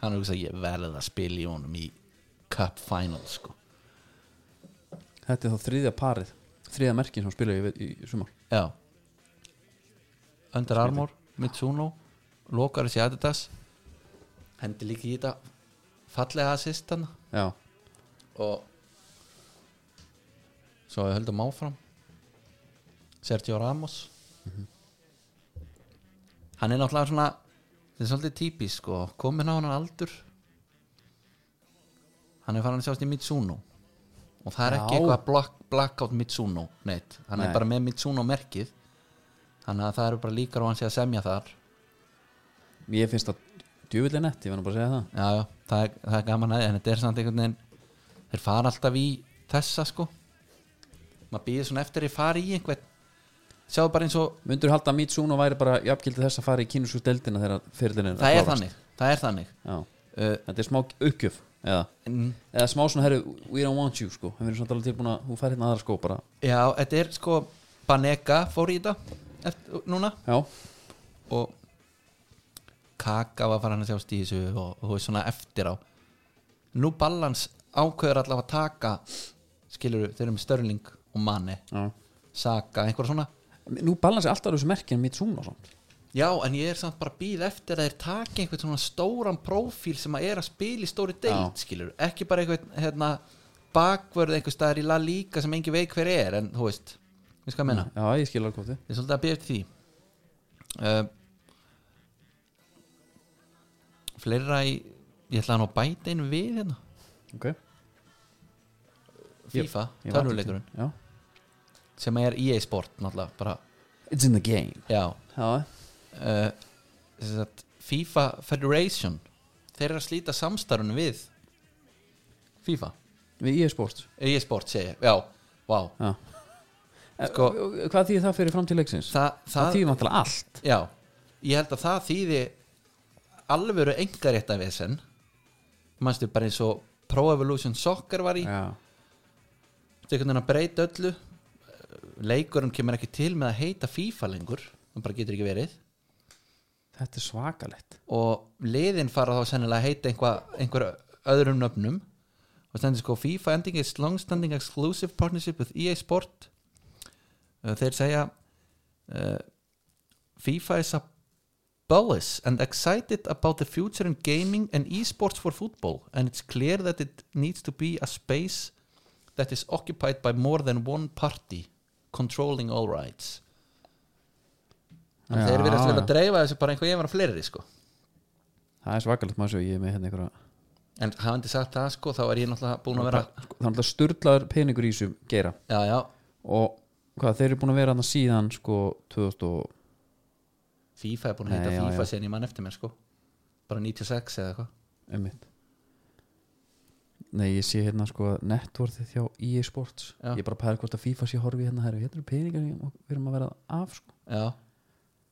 hann er ekki að ég verði að spila í honum í Cup Finals sko
Þetta er þá þriðja parið þriðja merkin sem hann spilaði í, ve- í sumar
Já Under Armour, Mitsuno Lokar þessi Adidas Hendi líka í þetta Fallega assistan
Já
Og Svo við höldum áfram Sergio Ramos Hann er náttúrulega svona Þetta er svolítið típist sko Komin á hann aldur Hann er farin að sjást í Mitsuno Og það er
Já.
ekki eitthvað black, blackout Mitsuno Neitt, hann
Nei.
er bara með Mitsuno merkið Þannig að það eru bara líkar og hann sé að semja þar
Ég finnst það djöfullið nett, ég verður bara að segja það
Já, já, það er, það er gaman að því, en þetta er samt einhvern veginn þeir fara alltaf í þessa sko maður býður svona eftir að þeir fara í einhvern sjáðu bara eins og
Mundur halda að Mitsuno væri bara jafngildið þess að fara í kynusku deildina þegar fyrirlinn er að
það er
klárast?
þannig, það er þannig
Já
uh,
Þetta er smá uppgjöf eða
en-
eða smá svona herru, we don't want you sko en við erum samt alveg tilbúin að hún fær hérna aðra skó bara
Já, þetta er sko Banega fór í þetta eftir, núna
já,
og Kaka var farin að sjá stísu og, og þú veist svona eftir á nú balans ákveður allavega að taka skilur þau eru með Störling og Manni
já.
Saka, einhverja svona
nú balansi alltaf þessu merkin Mitsuno samt
Já, en ég er samt bara að býð eftir að þeir taki einhvern svona stóran prófíl sem að er að spila í stóri deild, skilur ekki bara einhvern hérna, bakvörð einhver staðar í La Liga sem engin veik hver er en þú veist, við skal menna,
Já, ég skil alveg hvort þið
ég er svolítið að býða eftir því uh, fleira í ég ætla hann að bæta einu við hérna
ok Ég-
FIFA,
Ég var
tölvuleikurinn
til- já.
sem er EA Sport náttúrulega bara,
It's in the game
já
Já,
uh, sem sagt, FIFA Federation þeir eru að slíta samstarfinu við FIFA
við ég sport
EA Sport segi ég, já, vá
Já
Sko-
Sko, hvað þýðir það fyrir framtíð leiksins?
Þa,
það
það,
þýðir náttúrulega allt
já, ég held að það þýði alvöru engarétta vesen mannstu bara eins og Pro Evolution Soccer var í
Já,
þetta er einhvern veginn að breyta öllu Eh, leikurinn kemur ekki til með að heita FIFA lengur, það bara getur ekki verið
þetta er svakalegt
og liðin fara þá sennilega að heita einhva, einhver öðrum nöfnum og stendur sko FIFA ending is long-standing exclusive partnership with EA Sport Uh, þeir segja uh, FIFA is a bullish and excited about the future in gaming and esports for football and it's clear that it needs to be a space that is occupied by more than one party controlling all rights
Já,
Þannig að þeir verðast vel að
já.
dreifa þessu bara einhver ég var að fleiri sko
Það er svakalegt maður svo ég er með hérna einhverja
En hafandi sagt það sko, þá er ég náttúrulega búin að vera
Sko, Það er náttúrulega sturlaður peningur í þessum geira
Já, já,
og hvað þeir eru búin að vera hann síðan sko 2000 og
FIFA er búin að heita
Nei, já,
FIFA
já.
síðan ég mann eftir mér sko Bara 96 eða eitthvað
einmitt Nei, ég sé hérna sko netvortið hjá EA Sports
Já.
Ég bara pæði hvort að FIFA sé horfið hérna herri, hérna eru peningar sem við erum að vera af sko.
Já,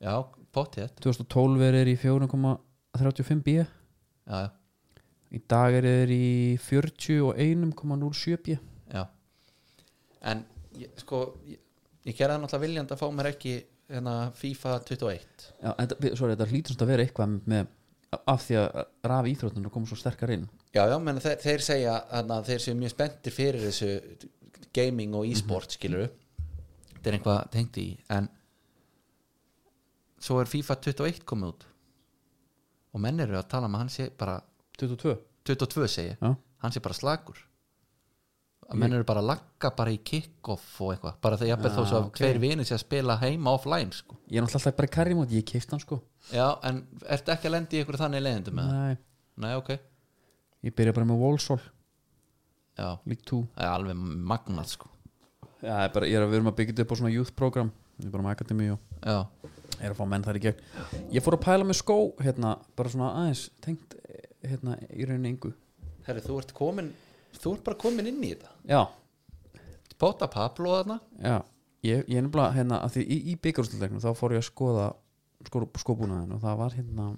já, potið
2012 er þeir í 4,35 b
Já, já,
Í dag er þeir í 41,07 b
já En ég, sko, ég, ég gerði það náttúrulega viljandi að fá mér ekki hérna, FIFA 21
Já, þetta, við- sorry, þetta hlýtur svona að vera eitthvað með af því að rafi íþróttunum koma svo sterkar inn
Já, já, menn þeir, þeir segja að þeir séu mjög spenntir fyrir þessu gaming og e-sport
Mhm.
mm Þetta er einhvað tengt í en svo er FIFA 21 komið út og menn eru að tala um að hann sé bara
22
22 segi,
Já.
ég, hann sé bara slagur að menn eru bara að lagga bara í kick-off og eitthvað bara þegar jafnvel
Já,
þó svo að
Ah, ok.
tveir vinir sé að spila heima offline sko.
Ég er náttúrulega alltaf bara í karrimót, ég keift hann sko
Já, en ertu ekki að lendi í ykkur þannig leiðindum með það?
Nei,
Nei, ok,
ég byrja bara með Walsall
já,
League 2
það er alveg magnað sko
Já, það er bara, ég er að við erum að byggja þetta upp á svona youth program Við erum bara með akademi og
Já,
er að fá menn þar í gegn Ég fór að pæla með skó, hérna, bara svona aðeins Tengt, eh, hérna, í rauninni engu
Herri, þú ert komin Þú ert bara komin inn í þetta
Já,
Pota Pablo þarna
já Ég, ég er nefnilega, hérna, að því í, í byggarústilegnum Þá fór ég að skoða skó, skóbúnaðin Og það var, hérna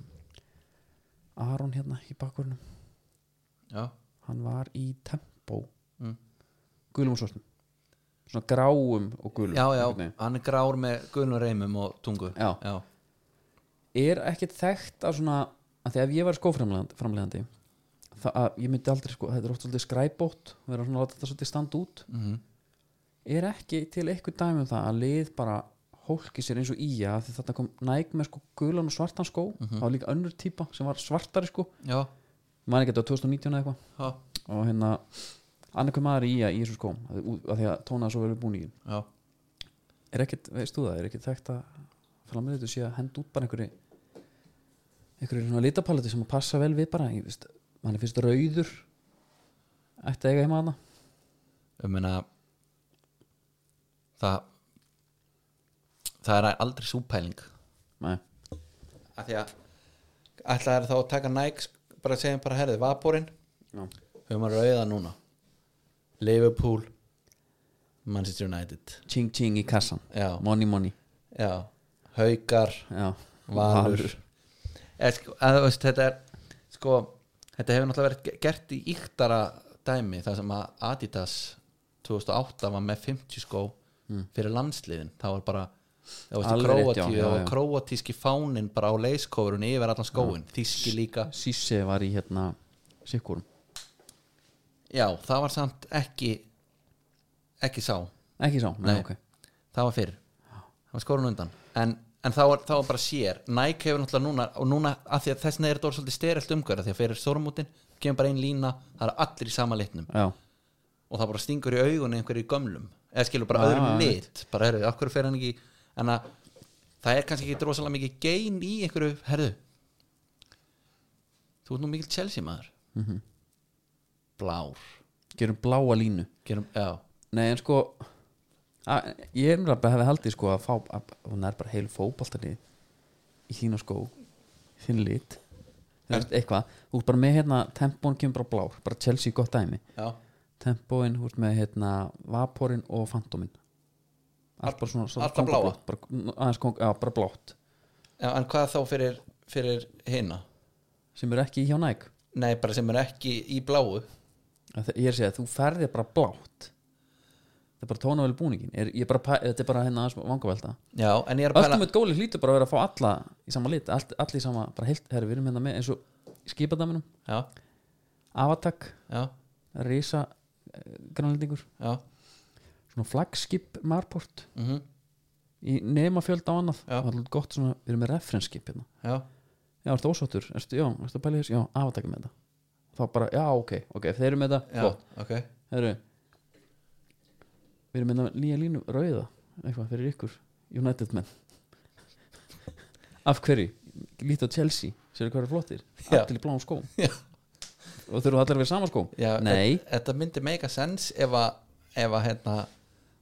Aron, hérna, í bakvörunum
Já,
Hann var í tempo
Mm.
Gulum og svartum Svona gráum og gulum
já, já
einhvern veginn.
hann er grár með gulnum reymum og tungu
Já.
já,
er ekkert þekkt að svona að því ef ég var skóframlegandi það að ég myndi aldrei sko, þetta er oft svolítið skræbót og vera svona að láta þetta svolítið standa út
mm
er ekki til eitthvað dæmi um það að lið bara hólki sér eins og í að því þetta kom næg með sko gulan og svartan skó það var líka önnur típa sem var svartari sko
já,
ég man ekki þetta var 2019 eða eitthvað
já,
og hérna annarkvæm maður í að í þessum skóm að því- að því að tónaði svo verið búningin
já.
er ekkert, veist þú það, er ekkert þekkt að framleitu sé að henda út bara einhverju einhverju svona litapaletti sem að passa vel við bara, ég veist mann er fyrst rauður ætti að eiga heima hana
Ég meina Það Það er aldrei súpæling
Nei.
að Því að Ætla er þá að taka Nike sk- bara að segja bara herðið vaporinn
Já.
höfum að rauða núna Liverpool Manchester United
ching ching í kassan,
Já,
money money
já Haukar
já,
Valur Eða, sko, að, þú veist, þetta er sko, þetta hefur náttúrulega verið ge- gert í yktara dæmi þar sem að Adidas 2008 var með 50 skó fyrir landsliðin það var bara það var
Mm. Alveg rétt, já,
króatíu
já,
það var
já.
króatíski fánin bara á leiskofurinn yfir allan skóin,
Mm.
þíski líka
Sissi var í hérna sikkurum,
já, það var samt ekki ekki sá,
ekki sá, nei,
Nei.
ok
það var fyrr það var skórun undan en, en þá, var, þá var bara sér Nike hefur náttúrulega núna og núna að því að þess vegna er þetta orðið svolítið styrilt umgöra því að fyrir stórmútin kemur bara ein lína það er allir í sama litnum
já,
og það bara stingur í augun einhverju í gömlum eða skilur bara
Já,
öðrum
já,
lit bara herrið, af hverju fer hann ekki en að það er kannski ekki rosalega mikið gein í einhverju, herðu þú ert nú mikil Chelsea maður
Mhm.
blár
gerum bláa línu
Gerum, já,
Nei en sko að, Ég er mér að hefði haldið sko að fá að, hún er bara heil fótboltali í þína skó þín lit Þú veist, eitthvað, þú ert bara með hérna tempón kemur bara blár, bara Chelsea gott dæmi
já,
tempóin, þú ert með hérna vaporinn og fantómin allt bara svona, svona
allt það bláa?
kóngulótt, bara, aðeins kong, já, bara blátt
já en hvað þá fyrir, fyrir hinna
sem eru ekki hjá næg
nei, bara sem er ekki í bláu
ég er að segja að þú ferði bara blátt það er bara tónavel búningin er, ég er bara, pæ- þetta er bara hérna aðeins vangavelta
já, en ég er að pæla
Ultimate Goalie hlýtur bara að vera að fá alla í sama lit, all, allir í sama, bara heilt herri, við erum hérna með eins og í skipadaminum
já,
Avatak,
já,
Risa grannlendingur,
já,
svona flagskip Marport
mm
í nema fjöld á annað
Já.
og allur gott svona, við erum með referenskip hérna
já
já, ertu ósáttur, ertu, já, ertu að pæla í þessu já, Avatak er með þetta þá bara, já, ok, ok, ef þeir eru með þetta
já,
flott,
ok
herru við erum með nýja línu rauða eitthvað fyrir ykkur, United menn af hverju lítið á Chelsea, sér hvað eru flottir
Já.
allir í bláum skóm
Já.
og þurfum allir að vera í sama skóm
já,
nei,
þe- þetta myndi meika sens ef að, ef að, hérna,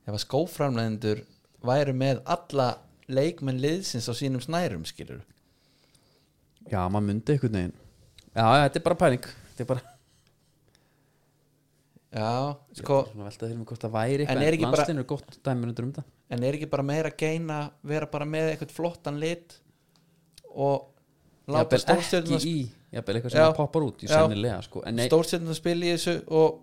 ef að skóframlendur væru með alla leikmenn liðsins á sínum snærum skilur
já, maður myndi einhvern veginn já, já, þetta er bara pæning þetta er bara,
já, sko,
svona velta þeirnum hvort það væri
En
eitthvað,
er ekki bara-
landslinn er gott dæmur undir um þetta
en er ekki bara meira geina vera bara með eitthvað flottan lit og láta
jafnvel
stórstjörnum
ekki í, jafnvel eitthvað
Já.
sem poppar út í
Já.
sennilega, sko, en nei,
stórstjörnum spila í þessu og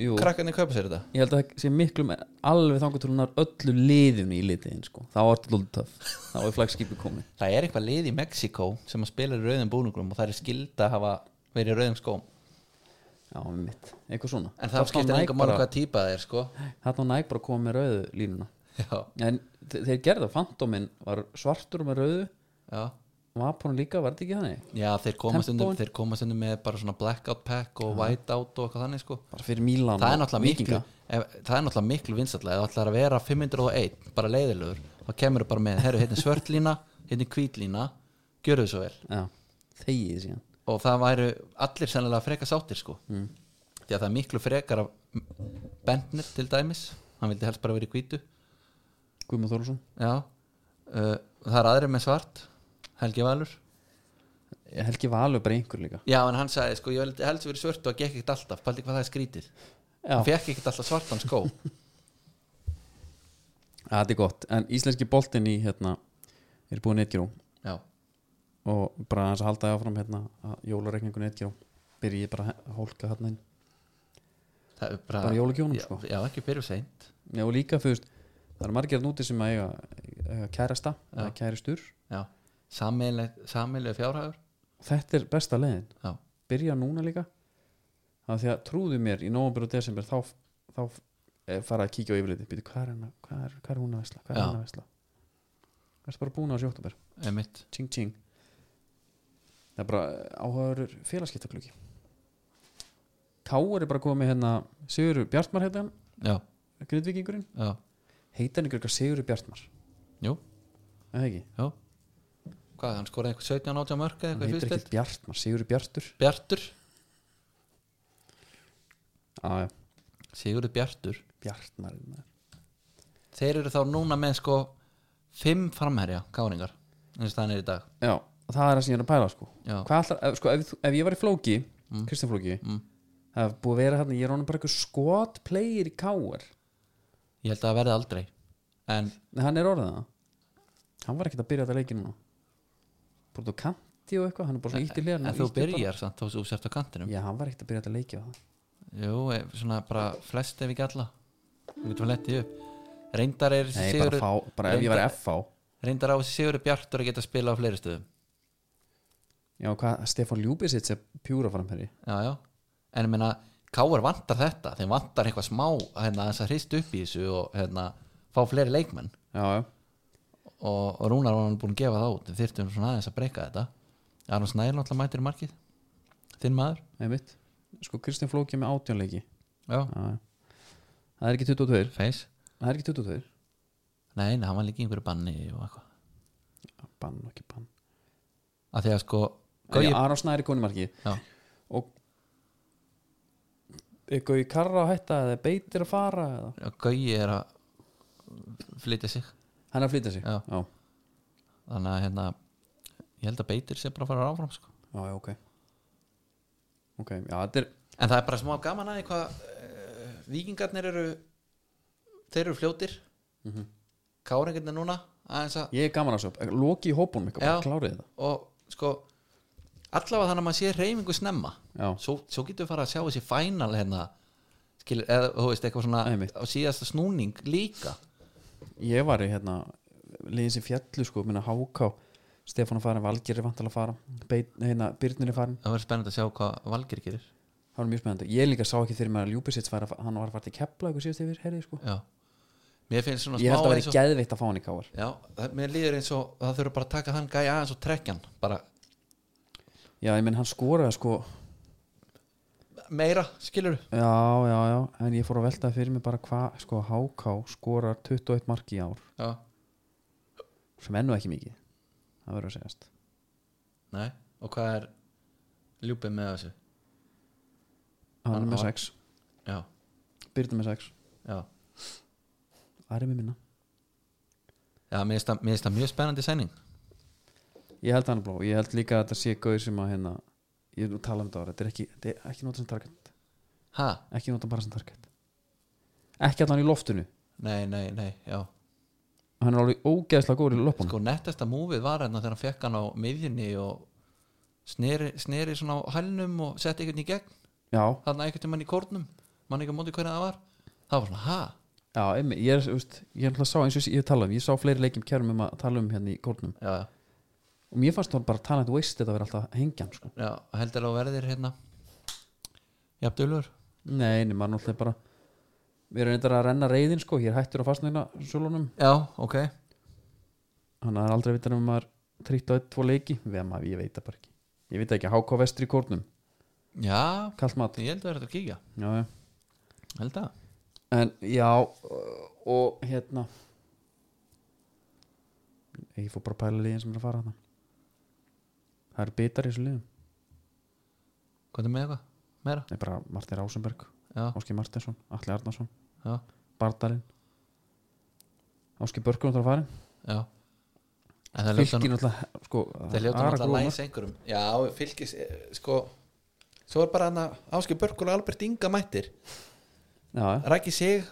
jú
krakkarnir kaupa sér þetta
ég held að það sé miklu með alveg þangur til hún er öllu liðinu í litiðin sko. þá er þetta lúlið töf þá er flagskipi komið
það er eitthvað lið í Mexiko sem að spila í rauðum búningum og það er skilda að hafa verið í rauðum skóm
já, mitt, eitthvað svona
en það skiptir enga mál hvað típa það er sko
þetta var næg bara að koma með rauðu línuna
já,
en þe- þeir gerðu það, fantóminn var svartur með rauðu
já
vaporn líka, var þetta ekki þannig
Já, þeir koma, stundum,
Tempóin.
þeir koma stundum með bara svona blackout pack og whiteout og eitthvað þannig sko
bara fyrir Mílan
Það er
og
náttúrulega miklu
Víkinga.
ef, Það er náttúrulega miklu vinstallega Það ætlar að vera 501, bara leiðilegur þá kemur bara með, herru, hérna er svört lína hérna er hvít lína, gjörðu svo vel
já, þegið síðan
og það væru allir sennilega freka sáttir sko mm. því að það er miklu frekar af Bentner til dæmis hann vildi helst bara vera í hvítu
Guðmund Þólusson,
Já, uh, það er aðri með svart Helgi Valur
Helgi Valur bara einhver líka
Já, en hann sagði, sko, ég vildi helst verið svört og það gekk ekkert alltaf, paldi hvað það er skrítið
já,
hann fekk ekkert alltaf svartan skó
Ja, þetta er gott, en íslenski boltinn í hérna, er búin eitt gjú
Já,
og bara aðeins að halda það áfram hérna að jólareikningun eitt gjá byrja ég bara að hólka hérna inn
það er bara
bara í jólagjónum
já,
sko
já, ekki byrju seint
já og líka þú veist það er margir núti sem að eiga, eiga kærasta eða kæristur
Já, sameilega fjárhagur
þetta er besta leiðin
Já,
byrja núna líka það því að trúðu mér í november og desember þá, þá eh, fara að kíkja á yfirliti býtu hvað er, hennar, hvað er, hvað er hún að vesla hvað er
Já.
hún að vesla það er bara búin á þessu í oktober
emitt
tjing tjing það er bara eh, áhugaður félagskiptakluki Káur er bara komið hérna Sigurur Bjartmar heitir hann
Já,
Grindvíkingurinn,
já,
heitir hann ykkur eitthvað Sigurur Bjartmar
jú,
Er það ekki,
já Hvað, hann skoraði eitthvað 17 átjá mörg eða
hann
eitthvað í
heitir
fyrstild
ekki Bjartmar Sigurur Bjartur
Bjartur,
ah,
Sigurður Bjartur
Bjartmar maður.
Þeir eru þá núna með sko Fimm framherja, káringar eins og það er í dag
já, og það er það sem ég er að pæla sko,
Já,
Hvað allar, ef, sko ef, þú- ef ég var í Flóki, Kristján Flóki
Mm.
það er búið að vera hérna, ég er honum bara eitthvað skot player í Káur
ég held að það verði aldrei En,
Nei, hann er orðið það Hann var ekkert að byrja þetta leiki núna Búið á kanti og eitthvað Hann er bara svona ítt í leirinu
en þú byrjar samt þó þú sért á kantinum
Já, hann var ekkert að byrja þetta leiki á það
Jú, eh, svona bara flest ef ekki alla Þú getur að leta því upp Reyndar er
Nei, bara,
Sigurður
fá, bara ef ég var FH
Reyndar á þessi Sigurður Bjartur að geta að spila á fleiri stöðum
Já, hvað, Stefán Ljúbisits er pjúra framherri
já, já. en ég meina Káur vantar þetta, þeim vantar eitthvað smá hérna, þess að hrist upp í þessu og hérna, fá fleiri leikmenn
Já, já,
og, og Rúnar var hann búin að gefa það út við þyrftum svona aðeins að breyka þetta Aron Snæður náttúrulega mætir í markið þinn maður
einmitt Sko, Kristján Flóki er með átjónleiki
já.
Já, já Það er ekki 22
Feis,
Það er ekki 22
nei, nei, hann var líka í einhverju banni og eitthvað
bann og ekki bann
að því að sko
Gau,
Gaui-
Aron Snæri koni marki
Já.
og er Gauji Karra að hætta eða er beitir að fara eða?
Gaui er að flytja sig
hann er að flytja sig
Já.
já,
þannig að hérna ég held að beitir sé bara að fara áfram sko.
já, já, ok ok, já, þetta er
en það er bara smá gaman að hvað uh, vikingarnir eru þeir eru fljótir mm -hmm. káringarnir núna aðeins að
ég er gaman að svo, loki í hópunum eitthvað, bara
Já.
klárið þetta
og sko allavega þannig að maður sé reyfingu snemma
já,
svo, svo getur við fara að sjá þessi final hérna skilur, eða þú veist eitthvað svona
Einmitt.
á síðasta snúning líka
ég var í hérna liðin sem fjallu sko, minna Háká Stefán er farin, Valgir er vantal að fara Beit, hérna, Byrnir er farin,
það verður spennandi að sjá hvað Valgir gerir
það var mjög spennandi ég líka sá ekki þegar maður Ljúbisits var að, hann var að fara til kepla eitthvað síðast yfir, herrið sko
já. mér finnst svona
ég held að
smá
vera
eins og,
geðveitt að fá hann í káar
já, það- mér líður eins og það þurfur bara að taka hann gæja aðeins og trekkjan bara
já, ég minn hann skoraði sko
meira skilur
Já, já, já, en ég fór að velta fyrir mig bara hvað, sko, HK skorar 21 mark í ár,
já.
sem ennú ekki mikið það verður að segjast
nei, og hvað er ljúpið með þessu
hann er
Hann-
með
hann-
6,
já,
Byrnir með 6
já,
Ari með minna,
já mér finnst það- mér finnst það mjög spennandi sæning
ég held hann er blá ég held líka að þetta sé gauð sem að hérna ég er nú að tala um þetta ára, þetta er ekki, þetta er ekki nota sem target,
ha,
ekki nota bara sem target ekki allan í loftinu
nei, nei, nei, já
hann er alveg ógeðslega góður í loppunum
sko nettasta múfið var hérna þegar hann fekk hann á miðjunni og sneri, sneri svona á hælnum og setti einhvern í gegn
já,
þarna einhvern tímann í kórnum mann ekki á móti hvernig það var það var svona ha
já, einmi, ég er, þú veist, ég er alltaf sá eins og ég hef talað um, ég sá fleiri leikjum kærum um að tala um hérna í kórnum
já,
og mér fannst það bara talent wasted að vera alltaf hengjan, sko
já, heldur að þú verðir hérna jafnduðlur
Nei, nema náttúrulega bara Við erum reyndar að renna reyðin sko Ég er hættur á fastnæðina sölunum
já, ok
Þannig að það er aldrei að vita um maður Trýtt á eitt, tvo leiki Við maður, ég veit það bara ekki Ég veit ekki, HK vestri í kórnum
já,
Kallt mat
ég held að verður að kíkja
já, já.
held að
En já uh, Og hérna Ég fór bara að pæla liðin sem er að fara þarna Það eru bitar í þessu liðum
hvað er með eitthvað? meira?
Það er bara Martin Rásenberg,
já,
Áski Martinsson Atli Arnarsson,
já,
Bardalinn Áski Börkur þarf að fara
já en það ljóta
Fylgir náttúrulega sko,
það ljóta
Ara
náttúrulega
Gróa
læs einhverjum já, fylgis, eh, sko svo er bara hann að Áskei Börkul og Albert Inga mættir
Já,
rækki sig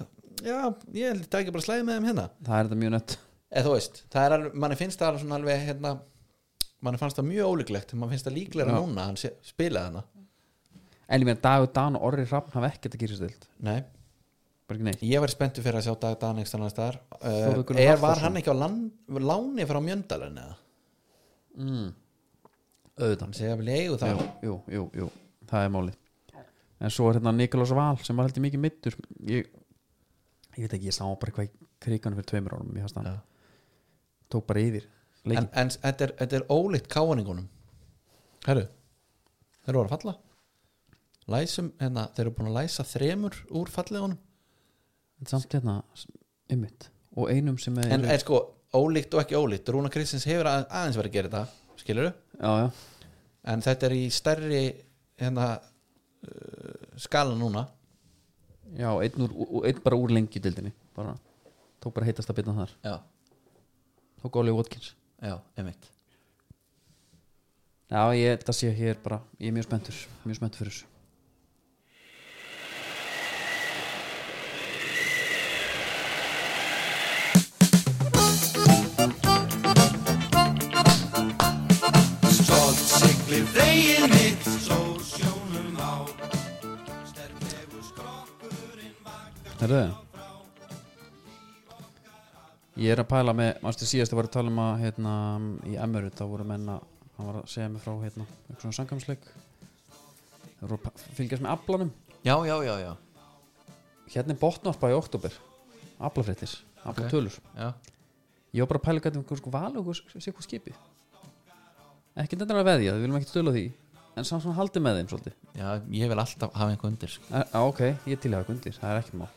já, ég held það ekki bara slæði með þeim hérna
það er þetta mjög nött
eða þú veist, það er alveg, manni finnst það alveg svona alveg hérna, manni fannst það mjög ólíklegt manni finnst það líklega
Já.
núna, að hann sé- spilaði hana
En ég meina Dagur Dan og Orri Hrafn hafa ekkert að gera stilt
nei,
Bara ekki neitt
ég verið spenntu fyrir að sjá Dag Dan ekki stannast þar uh,
Þórður Gunnar
er, var
Hafþórsson.
hann ekki á lan, láni frá Mjöndalinn eða,
mm.
hann
Auðvitað
sé að vilja eigu
jú,
það
jú, jú, jú, það er málið En svo er hérna Nikolás Val sem var heldur mikið middur ég, ég veit ekki, ég sá bara hvað í kriganum fyrir tveimur árum Ég hans það
Já.
Tók bara yfir
en,
leikin
en þetta er, þetta er ólíkt káaningunum herru þeir eru að falla læsum, hérna, þeir eru búin að læsa þremur úr fallegunum
en Samt hérna, ymmit Og einum sem er
en er sko ólíkt og ekki ólíkt Rúna Kristins hefur að- aðeins verið að gera þetta skilur
Já, já,
en þetta er í stærri hérna uh, skala núna
já einn, úr, ú- einn bara úr lengju dildinni bara, Tók bara heitast að byrna þar
já,
Tók Oli Watkins
já, emitt
Já, ég held að sé að ég er bara, ég er mjög spenntur, mjög spenntur fyrir þessu.
Stolt siglir veginn mitt Svo sjónum á Sterklegur skrokkurinn vakar
Herðu þið? Ég er að pæla með, mannstu síðast ég var að tala um að hérna í Emirut, þá voru menna, hann var að segja mig frá hérna, eitthvað svona sangamsleik. Það voru að pa- fylgjast með aflanum.
já, já, já, já,
Hérna er botnvarpa í oktober, aflafréttir, aflatölur.
já.
Ég var bara að pæla hvernig einhver sko val og einhver sé hvað skipi. Ekki þetta er að veðja, við viljum ekki stöla því, en samt svona haldi með þeim svolítið.
já ég vil alltaf hafa einhver undir sko.
Já, Eh, ah, ok, ég til að hafa undir, það er ekkert mál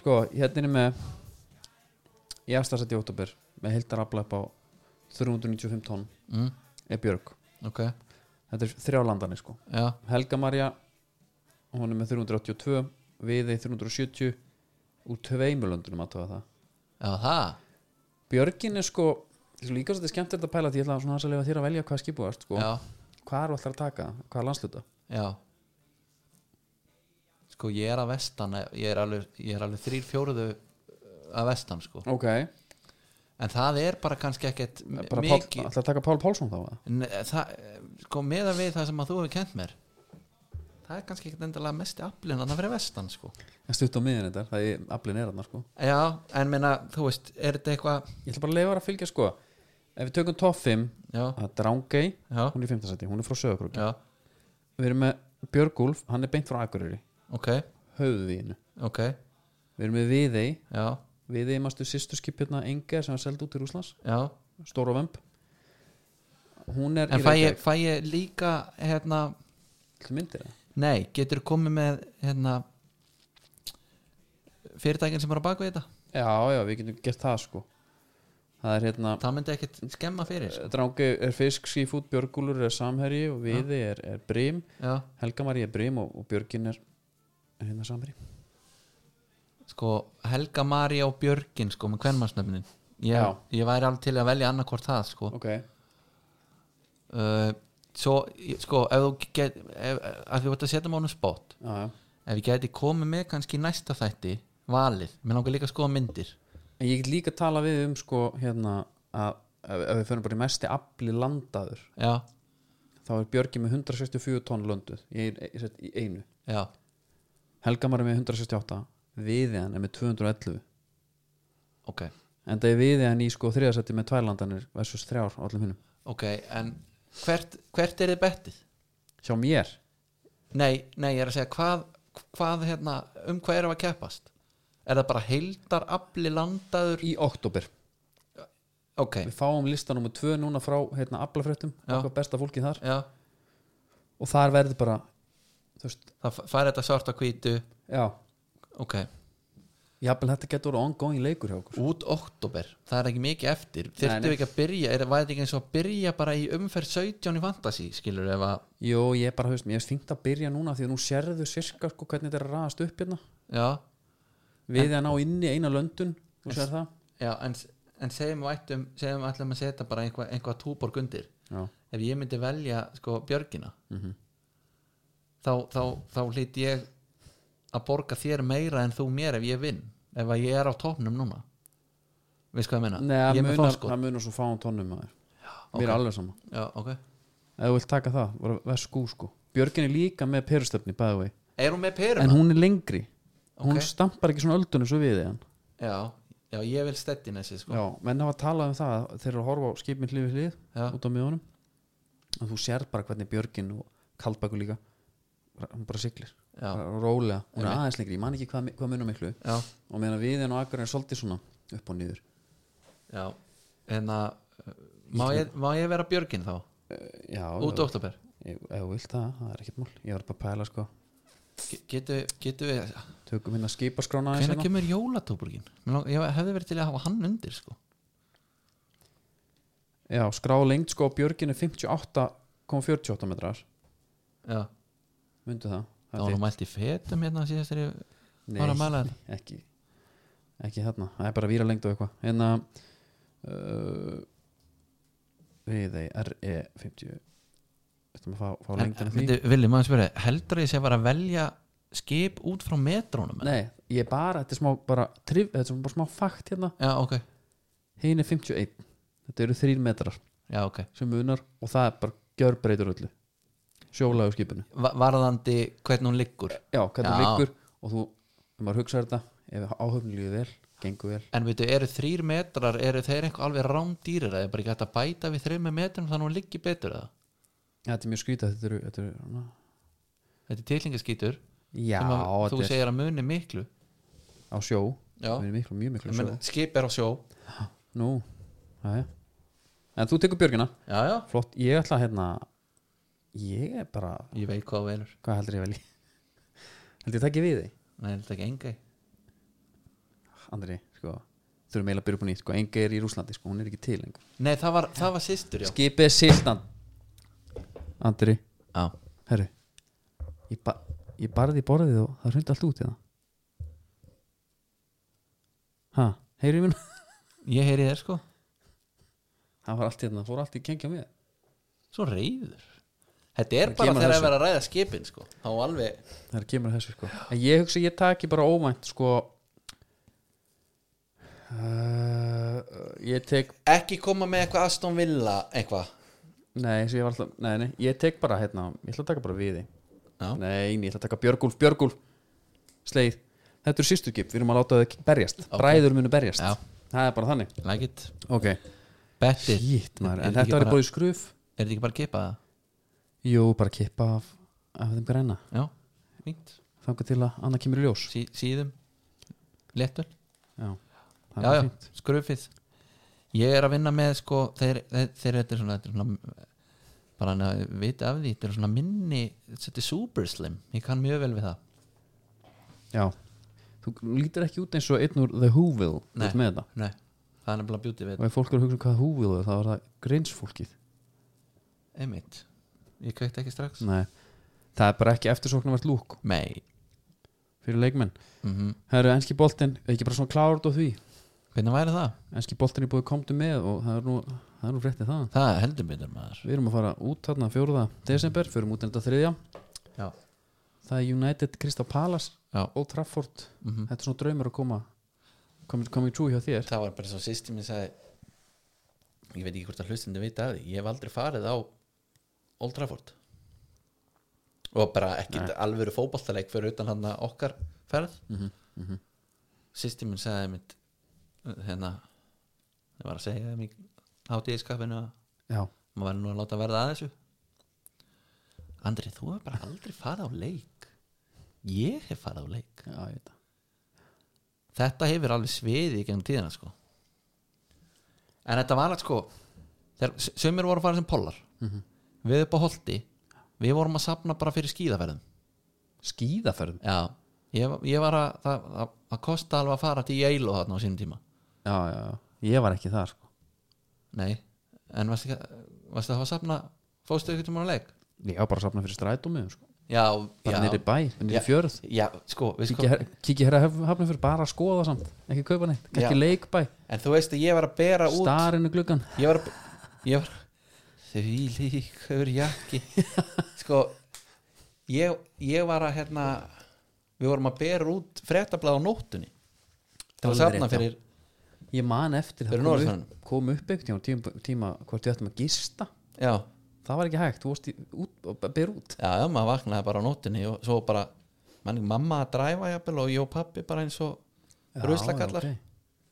Sko, hérna er ég með Ég afstæðsætti í óttúber með heildar afla upp á 395 tonn
mm,
er Björg
ok,
þetta er þrjá landani sko
já,
Helga Marja hún er með 382 Viðey 370 úr tveimulöndunum að tóða það
já það
Björgin er sko svo líka svo þetta er skemmt þetta að pæla því ég ætla svona aðeins að leifa þér að velja hvað skipu varst sko.
já,
hvað er alltaf að taka, hvað er landsluta
já sko ég er að vestan ég er alveg, ég er alveg þrýr fjóruðu að vestan sko
ok,
en það er bara kannski ekkert m-
Eh, bara Pál,
mikið
alltaf að taka Pál Pálsson þá eða?
Nei, eh, það, sko meðan við það sem að þú hefur kent mér það er kannski ekkert endalega mesti aflinn að það fyrir vestan sko
en stutt á miðin þetta, það er aflinn er þarna sko.
já, en meina, þú veist, er þetta eitthvað
ég ætla bara að leifa þér að fylgja sko ef við tökum top 5,
já,
það er Drangey
já,
hún er í 5. seti, hún er frá Söðakrúki
já,
við erum með Björgúlf, hann er beint frá Akureyri
ok
höfðvíðinu,
ok,
við erum með Viðey
já,
Viðey mástu sýsturskipjörna hérna, Inge sem er seld út til Rúslands,
já
Stóra Vömb hún er
en fæ ég, fæ ég líka hérna,
Þú myndir það?
nei, getur komið með hérna fyrirtækin sem er á baku þetta
Já, já, við getum gert það sko það er hérna
það myndi ekkert skemma fyrir sko.
Drangi er fisk, sífút, Björgúlur er samherji og Viði er, er Brim
já,
Helgamari er Brim og, og Björgin er er hérna samherji
sko, Helga Maria og Björgin sko, með kvenmannsnöfnin ég,
Já.
ég væri alveg til að velja annarkvort það sko
Ok,
uh, svo, ég- sko, ef þú get ef, að þú vart að setja mánu spott
já, já
ef ég geti komið með kannski í næsta þætti valið, mér langar líka að skoða myndir
En ég get líka að tala við um sko hérna að ef ef við förum bara í mesti afli landaður
já,
þá er Björgin með 164 tonn lönduð í, í, í einu
já,
Helgamari með 168 Viðiðan er með 211
ok
en það er Viðiðan í sko þriðasetti með tværlandanir versus þrjár á öllum hinnum
ok, en hvert, hvert er þið bettið?
Hjá mér
Nei, nei, ég er að segja hvað, hvað hérna, um hvað erum við að keppast? Er það bara heildar afli landaður?
í oktober
Ok,
við fáum lista nummer 2 núna frá hérna aflafréttum,
Já.
okkar besta fólkið þar
já,
og þar verður bara þú veist,
það f- fær þetta svarta hvítu
já,
ok,
jafnvel þetta getur orðið ongoing leikur hjá okkur
út oktober það er ekki mikið eftir,
nei.
þyrftum við ekki að byrja er, var þetta ekki eins og að byrja bara í umferð 17 í fantasy, skilur ef að
Jó, ég er bara, þú veist, mér er fínt að byrja núna því að nú sérðu sirka sko hvernig þetta er að raðast upp hérna
já,
við að ná inni eina löndun þú sér það
já, en, en segjum við ættum, segjum við ætlum að setja bara einhvað einhva túborg undir,
já.
ef ég myndi velja sko björgina
Mhm.
þá, þá, þá hlýt ég að borga þér meira en þú mér ef ég vinn, ef að ég er á topnum núna veist hvað ég meina
Nei, það
ég er með sko. Ah,
munar,
fórskot
það munar svo fáum tónnum að þér mér er alveg sama
já, ok
ef þú vilt taka það, voru verð skú sko Björgin er líka með perustöfni, bæði vei
er hún með peruna?
en hún er lengri hún
Ok.
stampar ekki svona öldunum svo við hann
já, já, ég vil stettin þessi sko
Já, menn hafa talað um það að þeir eru að horfa á skipin hlið við hlið
Já.
út á miðunum og þú sér bara hvernig Björgin og Kaldbækur líka bara- hún bara siglir,
já,
bara rólega hún er
Einmitt.
aðeins lengri, ég man ekki hvað, mi- hvað munum miklu
já,
og meðan að viðin og akkur er svolítið svona upp og niður
já. en að uh, má ég, má ég vera björgin þá?
Já,
út
já,
oktober
ég- ef þú vilt það, það er ekkert mál ég var bara að pæla sko,
getur getu við
tökum hérna skipaskrána aðeins
hvenær
hérna.
kemur jólatúborgin? Mig lang- ég hefði verið til að hafa hann undir sko
Já, skrá lengt sko, Björgin er 58,48 metrar
já,
myndu það,
það
það
var
er
nú mælt í fetum hérna síðast þegar ég
þitt.
var að
Nei.
mæla þetta
ekki ekki þarna, það er bara víra lengt og eitthvað en að uh, við þeir RE 50 Þetta maður að fá, fá
En,
lengdina því
myndi, Vili, maður spyrir, heldur ég sé var að velja skip út frá metrónum?
Nei, ég bara, þetta er smá bara, trif, þetta er bara smá fakt hérna
Já, ok,
hinn er 51, þetta eru þrír metrar
já, ok
sem munar og það er bara gjörbreytur öllu sjólaðu skipinu
Va- Varðandi hvernig hún liggur
Já, hvernig
Já.
það liggur og þú, ef maður hugsa þetta ef áhöfnum líður vel, gengur vel
En veitu, eru þrýr metrar, eru þeir eitthvað alveg rándýrir eða er bara ekki hægt að bæta við þreymur metrum þannig að hún liggi betur eða?
Þetta er mjög skrýta, þetta eru, þetta eru svona-
Þetta er tilhingaskítur
Já,
sem að þú
þetta er
segir að muni miklu
á sjó
Já,
Við erum miklu, mjög
ég
miklu sjó
meina, skip er á sjó
Nú, aðja En þú tekur björgina,
Já, já,
flott Ég ætla að hérna Ég er bara,
ég veit hvað þú velur
hvað heldur ég vel í Heldur ég takki við þig,
Nei, þetta er ekki enga
Andri, sko þurfum eiginlega að byrja upp á nýtt sko. enga er í Rúslandi, sko. hún er ekki til enga.
Nei, það var, það var systur, já
skipið er siltan Andri,
Já,
herru ég, ba ég barði í borðið og það hrundi allt út í það ha, heyrðu mér
ég heyri þér sko
það var allt í þetta, það fór allt í gengja með
Svo reyður Þetta er
Það
bara
kemur
þegar
þessu.
að vera að ræða skipin sko Þá alveg
það er kemur að þessu sko en ég hugsa að ég taki bara óvænt sko uh, ég tek
Ekki koma með eitthvað Aston Villa eitthvað
nei, svo ég var alltaf, nei, nei, ég tek bara hérna, ég ætla að taka bara við því
Já.
nei, nei, ég ætla að taka Björgúlf, Björgúlf sleið, þetta er sýsturkip við erum að láta þau berjast, bræður munu berjast
Já.
það er bara þannig
Like it
ok,
Bettir
hýtt maður, en
þetta ekki
þetta var
bara-
í bóði skruf
Er þetta ekki bara að kipa það?
jú, bara kippa af, af þeim græna
Já, fínt
þangar til að annað kemur í ljós
sí, Síðum Léttul
já, það
Já,
er
já,
fínt
skrufið Ég er að vinna með sko Þeir, þeir, þeir þetta er svona, þetta er svona Bara hann að vita af því Þetta er svona minni Þetta er super slim Ég kann mjög vel við það
Já, þú lítir ekki út eins og einn úr The Whoville
Nei.
út með þetta
Nei Það er nefnilega beauty við
og ef fólk eru að hugsa um hvað Whoville er þá er það greinsfólkið
Einmitt Ég kveikti ekki strax
Nei, það er bara ekki eftirsóknarvert lúk
Nei
fyrir leikmenn
mm
Það eru enski boltinn, er ekki bara svona klárt og því
Hvernig væri það?
enski boltinn er búið komdu með og það er nú, það er nú fréttið það
Það er heldur betur maður
Við erum að fara út þarna 4. desember förum út enda 3.
Já,
Það er United, Crystal Palace
Já.
og Trafford
Mhm.
Þetta er svona draumur að koma komið komi trú hjá þér
Það var bara svo sýsti minn sagði Ég veit ekki hvort að hlustandi vita af því Ég hef aldrei farið á Old Trafford Og bara ekkit alvöru fótballtaleik Fyrir utan hann okkar ferð mm -hmm. Sýsti minn sagði mitt Hérna Ég var að segja þeim í hátíðiskapinu að
Já,
Maður verður nú að láta verða að þessu Andri, þú hefur bara aldrei farið á leik Ég hef farið á leik
já, ég veit það
þetta hefur alveg sviði í gennum tíðina sko en þetta var alveg sko þegar s- sumir voru að fara sem pollar við upp á holti við vorum að sapna bara fyrir skíðaferðum
Skíðaferðum
já, ég, ég var að það, að, að kosta alveg að fara til Yale þarna á sínum tíma
já, já, já. Ég var ekki það sko
nei, en varstu, ekki að- varstu að hafa að sapna fóstu ykkur tíma á leik
Ég á bara að safna fyrir strætómi sko.
já,
bara
já,
nýri bæ, nýri
Já.
fjörð
já sko, við sko
kíkja her- kíkja hér að hafna fyrir bara að skoða samt ekki kaupa neitt, ekki
Já.
leikbæ
en þú veist að ég var að bera út
starinu gluggan
ég var, ég var því líkur jakki sko ég, ég var að hérna við vorum að bera út fréttablað á nóttunni til að
Alveg
safna
rétt, já.
fyrir
ég man eftir
Fyrir
það kom
norðan.
upp, kom upp einhvern tíma, tíma, tíma hvort við ættum að gista
já,
það var ekki hægt, þú varst í, út, og ber út
já, já, maður vaknaði bara á nóttunni og svo bara, mann, mamma að dræfa jafnvel og ég og pappi bara eins og ruslakallar, okay.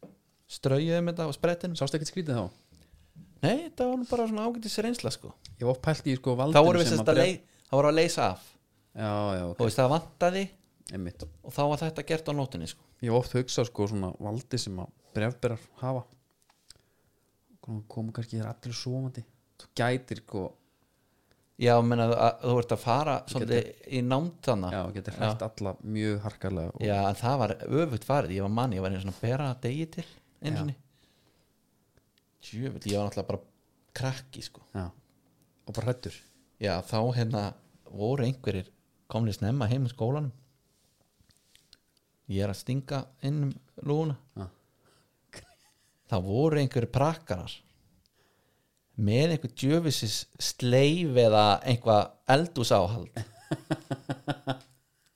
ok.
strauðum þetta og sprettin
sástu ekkert skrítið þá
nei, þetta var nú bara svona ágætis reynsla sko
ég var pælt í sko
þá
valdinu
voru við
sem
sérst að,
bre-
lei, þá voru að leysa af
já, já,
og veist það vantaði
ok, einmitt
og þá var þetta gert á nóttunni sko
ég hef oft hugsað sko svona valdi sem að brefberar hafa komu kannski þér allir svomandi þú gætir sko,
Já, menna, þú ert að fara svolítið í námt þannig
já, getur hrætt alla mjög harkalega og
Ah. Já, en það var öfugt farið, ég var manni, ég var einu svona að bera degi til,
Já.
einu svona Jöfull, ég var náttúrulega bara krakki, sko
Já. og bara hrættur
Já, þá hérna voru einhverjir komnir snemma heim í skólanum Ég er að stinga inn um lúna
Já.
Það voru einhverjir prakkarar með einhver djöfisis sleif eða einhvað eldúsáhald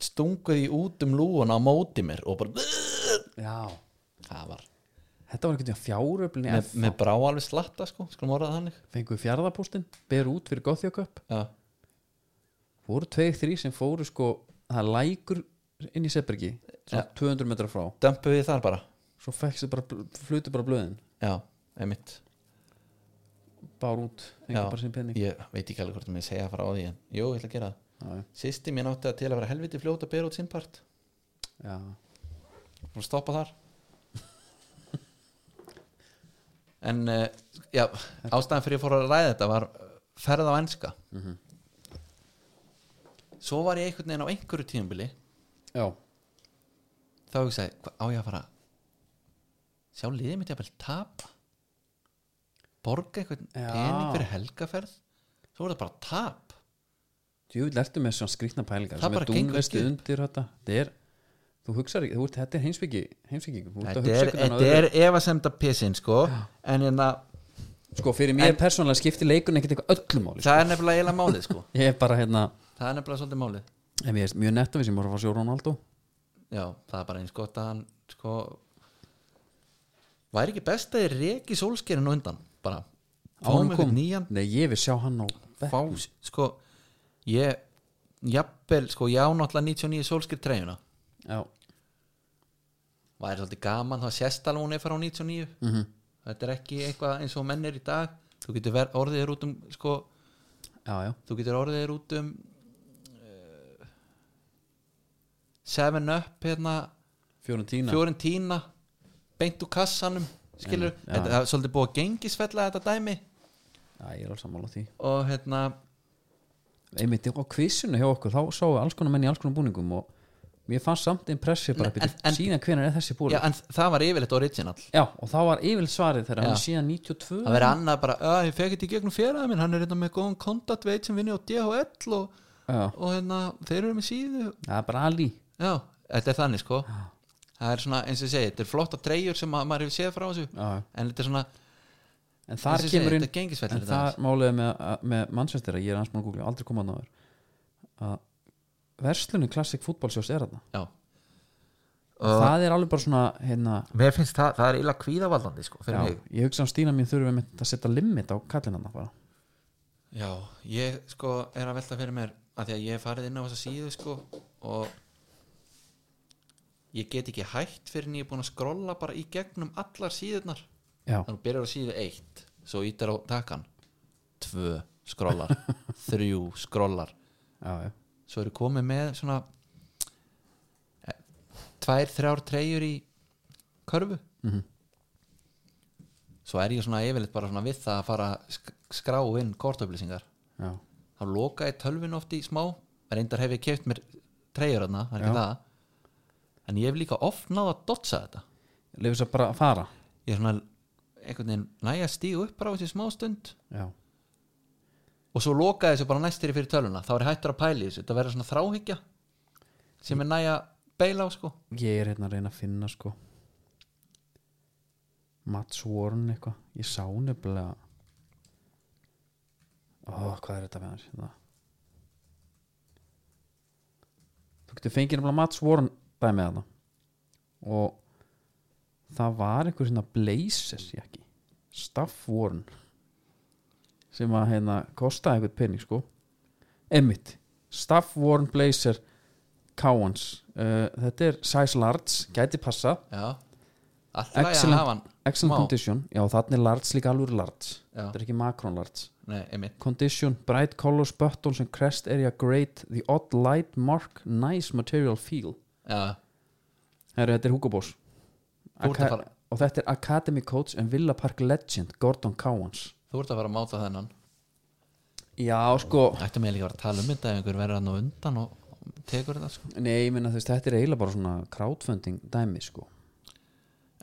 stunguði út um lúuna á móti mér og bara
já.
það var
þetta var einhvern veginn fjáröflin
með, með brá alveg slatta sko, skulum orðað þannig
fengu fjárðapústin, ber út fyrir Gothjököp
já,
voru tveir þrý sem fóru sko það er lækur inn í Sebergi svona 200 metra frá
dömpu við þar bara
svo fekstu bara, bl- flutu bara blöðin
já, einmitt
bár út,
já,
fengur bara sinn penning
ég veit ekki alveg hvort mér segja frá því en jú, ég ætla að gera það
já,
sýsti mín átti að til að vera helviti fljóta að bera út sinnpart
já.
og stoppa þar en uh, já, ástæðan fyrir ég fór að ræða þetta var eh, ferð á enska svo var ég einhvern veginn á einhverju tímabili
já.
þá hugsaði, hva- á ég að fara sjá liðið mitt jafnvel tapa borga eitthvað
Já.
pening fyrir helgaferð svo er það bara tap
Jú, lertu með svona skrýtna pælingar
Það
sem er
bara gengur
dúnvesti
ekki upp.
undir þetta Þetta er, þú hugsar ekki, þú ert, þetta er heimsbyggi heimsbyggi, þú ert að
þetta
hugsa
er,
eitthvað annað
þetta er efasemda pissin sko en en
öðru. Sko, fyrir mér persónulega skiptir leikun ekkert eitthvað öllum máli sko.
það er nefnilega eiginlega málið sko
Ég er bara hérna,
það er nefnilega svolítið málið
ef ég er mjög netta við sem voru að fá sjó Ronaldo
já, það er bara eins gott að hann sko væri ekki best að ég reki sólskerinn á undan bara, fáum
Árum
eitthvað
kom,
nýjan
nei, ég vil sjá hann á
fá, sko ég, jafnvel, sko ég á náttúrulega 99 sólskerinn treyjuna
Já,
væri svolítið gaman þá sést alveg hún er fara á 99
mhm.
-hmm. þetta er ekki eitthvað eins og menn er í dag þú getur ver- orðið er út um sko,
já, já,
þú getur orðið er út um uh, seven up hérna
fjórun tína
fjórin tína beint úr kassanum skilur,
Einmitt, já.
þetta, það er svolítið búið að gengisfella þetta dæmi
Já, ég er alveg sammála því
og hérna
einmitt á kvissinu hjá okkur þá sáu alls konar menn í alls konar búningum og mér fannst samt impressið bara
En-
en,
en-
síðan hvenær er þessi búning
já,
já,
en það var yfirleitt original
og þá var yfir svarið þegar
Já.
hann er síðan 92
það verið annað bara, að ég fekk þetta í gegnum fjöraða minn hann er hérna með góðan kontakt veit sem vinni á DHL og,
Já,
og hérna, þeir eru með síðu
það er bara Ali
já, þetta er þannig sko það er svona, eins og ég segi, þetta er flotta treyjur sem að, maður hefur séð frá þessu
Já.
en þetta er svona,
en þar
Eins og ég segi,
kemur inn
þetta er gengisfellir
en
þetta
það máliði með, með mannsvestir að ég er hans mann að googla, aldrei komað náður að verslunin klassik fútbolsjós er þarna
já
það er alveg bara svona hérna,
mér finnst það, það er illa kvíðavaldandi sko,
já, ég hugsa að Stína mín þurfum einmitt að setja limit á kallinanna bara
Já, ég sko er að velta fyrir mér að því að ég hef farið inn á þessa síðu sko og ég get ekki hætt fyrir en ég er búin að skrolla bara í gegnum allar síðurnar
já,
þannig að þú byrjar á síðu 1 svo ítar á takkan 2 skrollar 3 skrollar
já, já,
svo eru komið með svona eh, tvær, þrjár treyjur í körfu
Mhm.
svo er ég svona yfirleitt bara svona við það að fara að sk- skrá inn kortöflýsingar
já,
þá lokaði tölvin oft í smá reyndar hef ég keft mér treyjur þarna það er ekki
Já.
það en ég hef líka oft náð að dotsa þetta
lefum þess að bara fara
ég er svona einhvern veginn næja stígu upp bara á þessi smá stund
já,
og svo lokaði þessu bara næstir fyrir tölvuna þá er ég hættur að pæli þessu, þetta verður svona þráhyggja sem er næja beila á sko
ég er hérna að reyna að finna sko Mats Warren eitthvað ég sá nefnilega ó, hvað er þetta með hans hérna þú getur fengið nefnilega Mats Warren dæmið hana og það var einhver svona blazers jakki Staff Warren sem að hérna kostaði eitthvað pening sko Emmitt, Staff Warren blazer Cowans uh, þetta er size large, gæti passa
já, alltaf að
excellent,
hafa hann
excellent
Má.
condition já þannig er large líka alveg large
Já.
þetta er ekki macron large
nei, einmitt,
condition, bright colors, buttons and crest area great, the odd light mark nice material feel
já,
Heru, þetta er Hugo Boss
Þú ert að fara-
og þetta er Academy Coach en Villa Park Legend, Gordon Cowans
þú ert að fara að máta þennan
já sko
ættum ég líka að vera að tala um þetta ef einhver verður hann á undan og og tekur þetta sko
nei, ég minna þess, þetta er eiginlega bara svona crowdfunding dæmi sko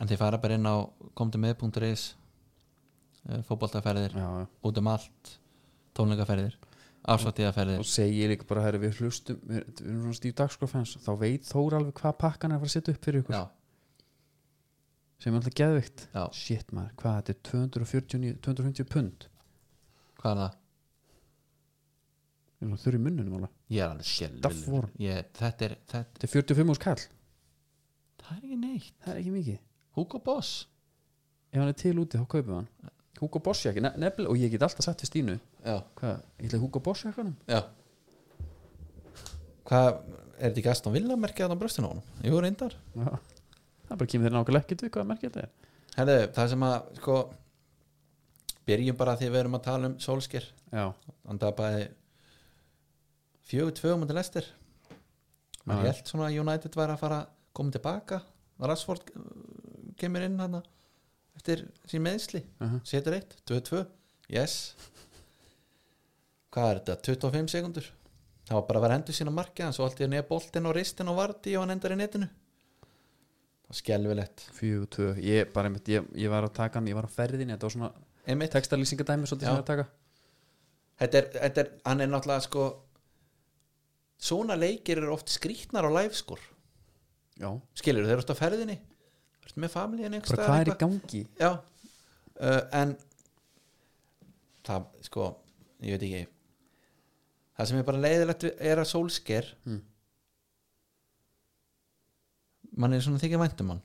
En þið fara bara inn á komdumeð.is eh, fótboltaferðir
já, já
út um allt, tónleikaferðir afsváttíðaferðir
og segi líka bara herri, við hlustum við, við erum svona stíf dagskrafens þá veit Þór alveg hvað pakkan er að fara að setja upp fyrir ykkur
Já,
sem er alltaf geðvikt
Já.
shit maður, hvað þetta er 249, 250 pund
hvað er það?
við erum þurr í munnunum alveg
Ég er alveg
Duff
sjálfur
Warren.
ég, þetta, er, þetta,
þetta er 45 úrs kall,
það er ekki neitt
það er ekki mikið
Hugo Boss
ef hann er til úti þá kaupum við hann Hugo Boss jakki, ne nefnilega, og ég get alltaf sagt við Stínu
Já,
hvað, ég ætla í Hugo Boss jakkanum
já Hvað, er þetta ekki Aston Villa merkið þarna á bröstinu á honum? Jú, reyndar
Já. það bara kemur þeir nákvæmlega ekkert við hvað merkja þetta er
Herðu, það sem að, sko byrjum bara því við erum að tala um Solskir
já,
hann tapaði fjögur tvö mútið lestir maður
Já.
held svona að United var að fara að koma tilbaka Rashford uh, kemur inn hann eftir sín meðsli
uh
setur eitt, 2-2, yes hvað er þetta 25 sekundur það var bara að vera hendur sína markið hans og allt í henni er boltinn og ristinn og varti og hann endar í netinu skelvilegt
fjögur, tvö, ég bara einmitt ég, ég var að taka hann, ég var á ferðinni þetta var svona
Einmitt.
textalýsingadæmi svolítið sem
Já.
ég var að taka
þetta er, þetta er, hann er náttúrulega sko svona leikir eru oft skrýtnar á live skor
já,
skilur þeir eru oft á ferðinni ertu með familíin einhvers
bara
staðar
hvað er í
eitthvað?
gangi
já uh, en það sko ég veit ekki það sem er bara leiðilegt við- er að sólsker
Mm.
mann er svona þykir væntum hann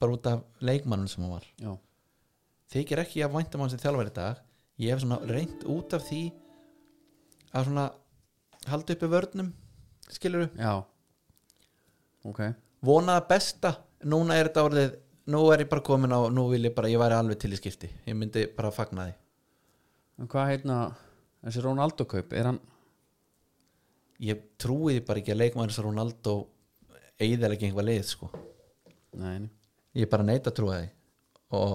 bara út af leikmannum sem hann var
já,
þykir ekki að væntum hann sem þjálfari í dag ég hef svona reynt út af því að svona halda uppi vörnum skilur
já ok,
vonaða besta núna er þetta orðið nú er ég bara komin á, nú vil ég bara ég væri alveg til í skipti, ég myndi bara fagna því
en hvað heitna þessi Ronaldo kaup, er hann
ég trúi því bara ekki að leikmæður sem Ronaldo eiðilega ekki einhvað leið sko,
nei, nei.
ég bara neita að trúa því og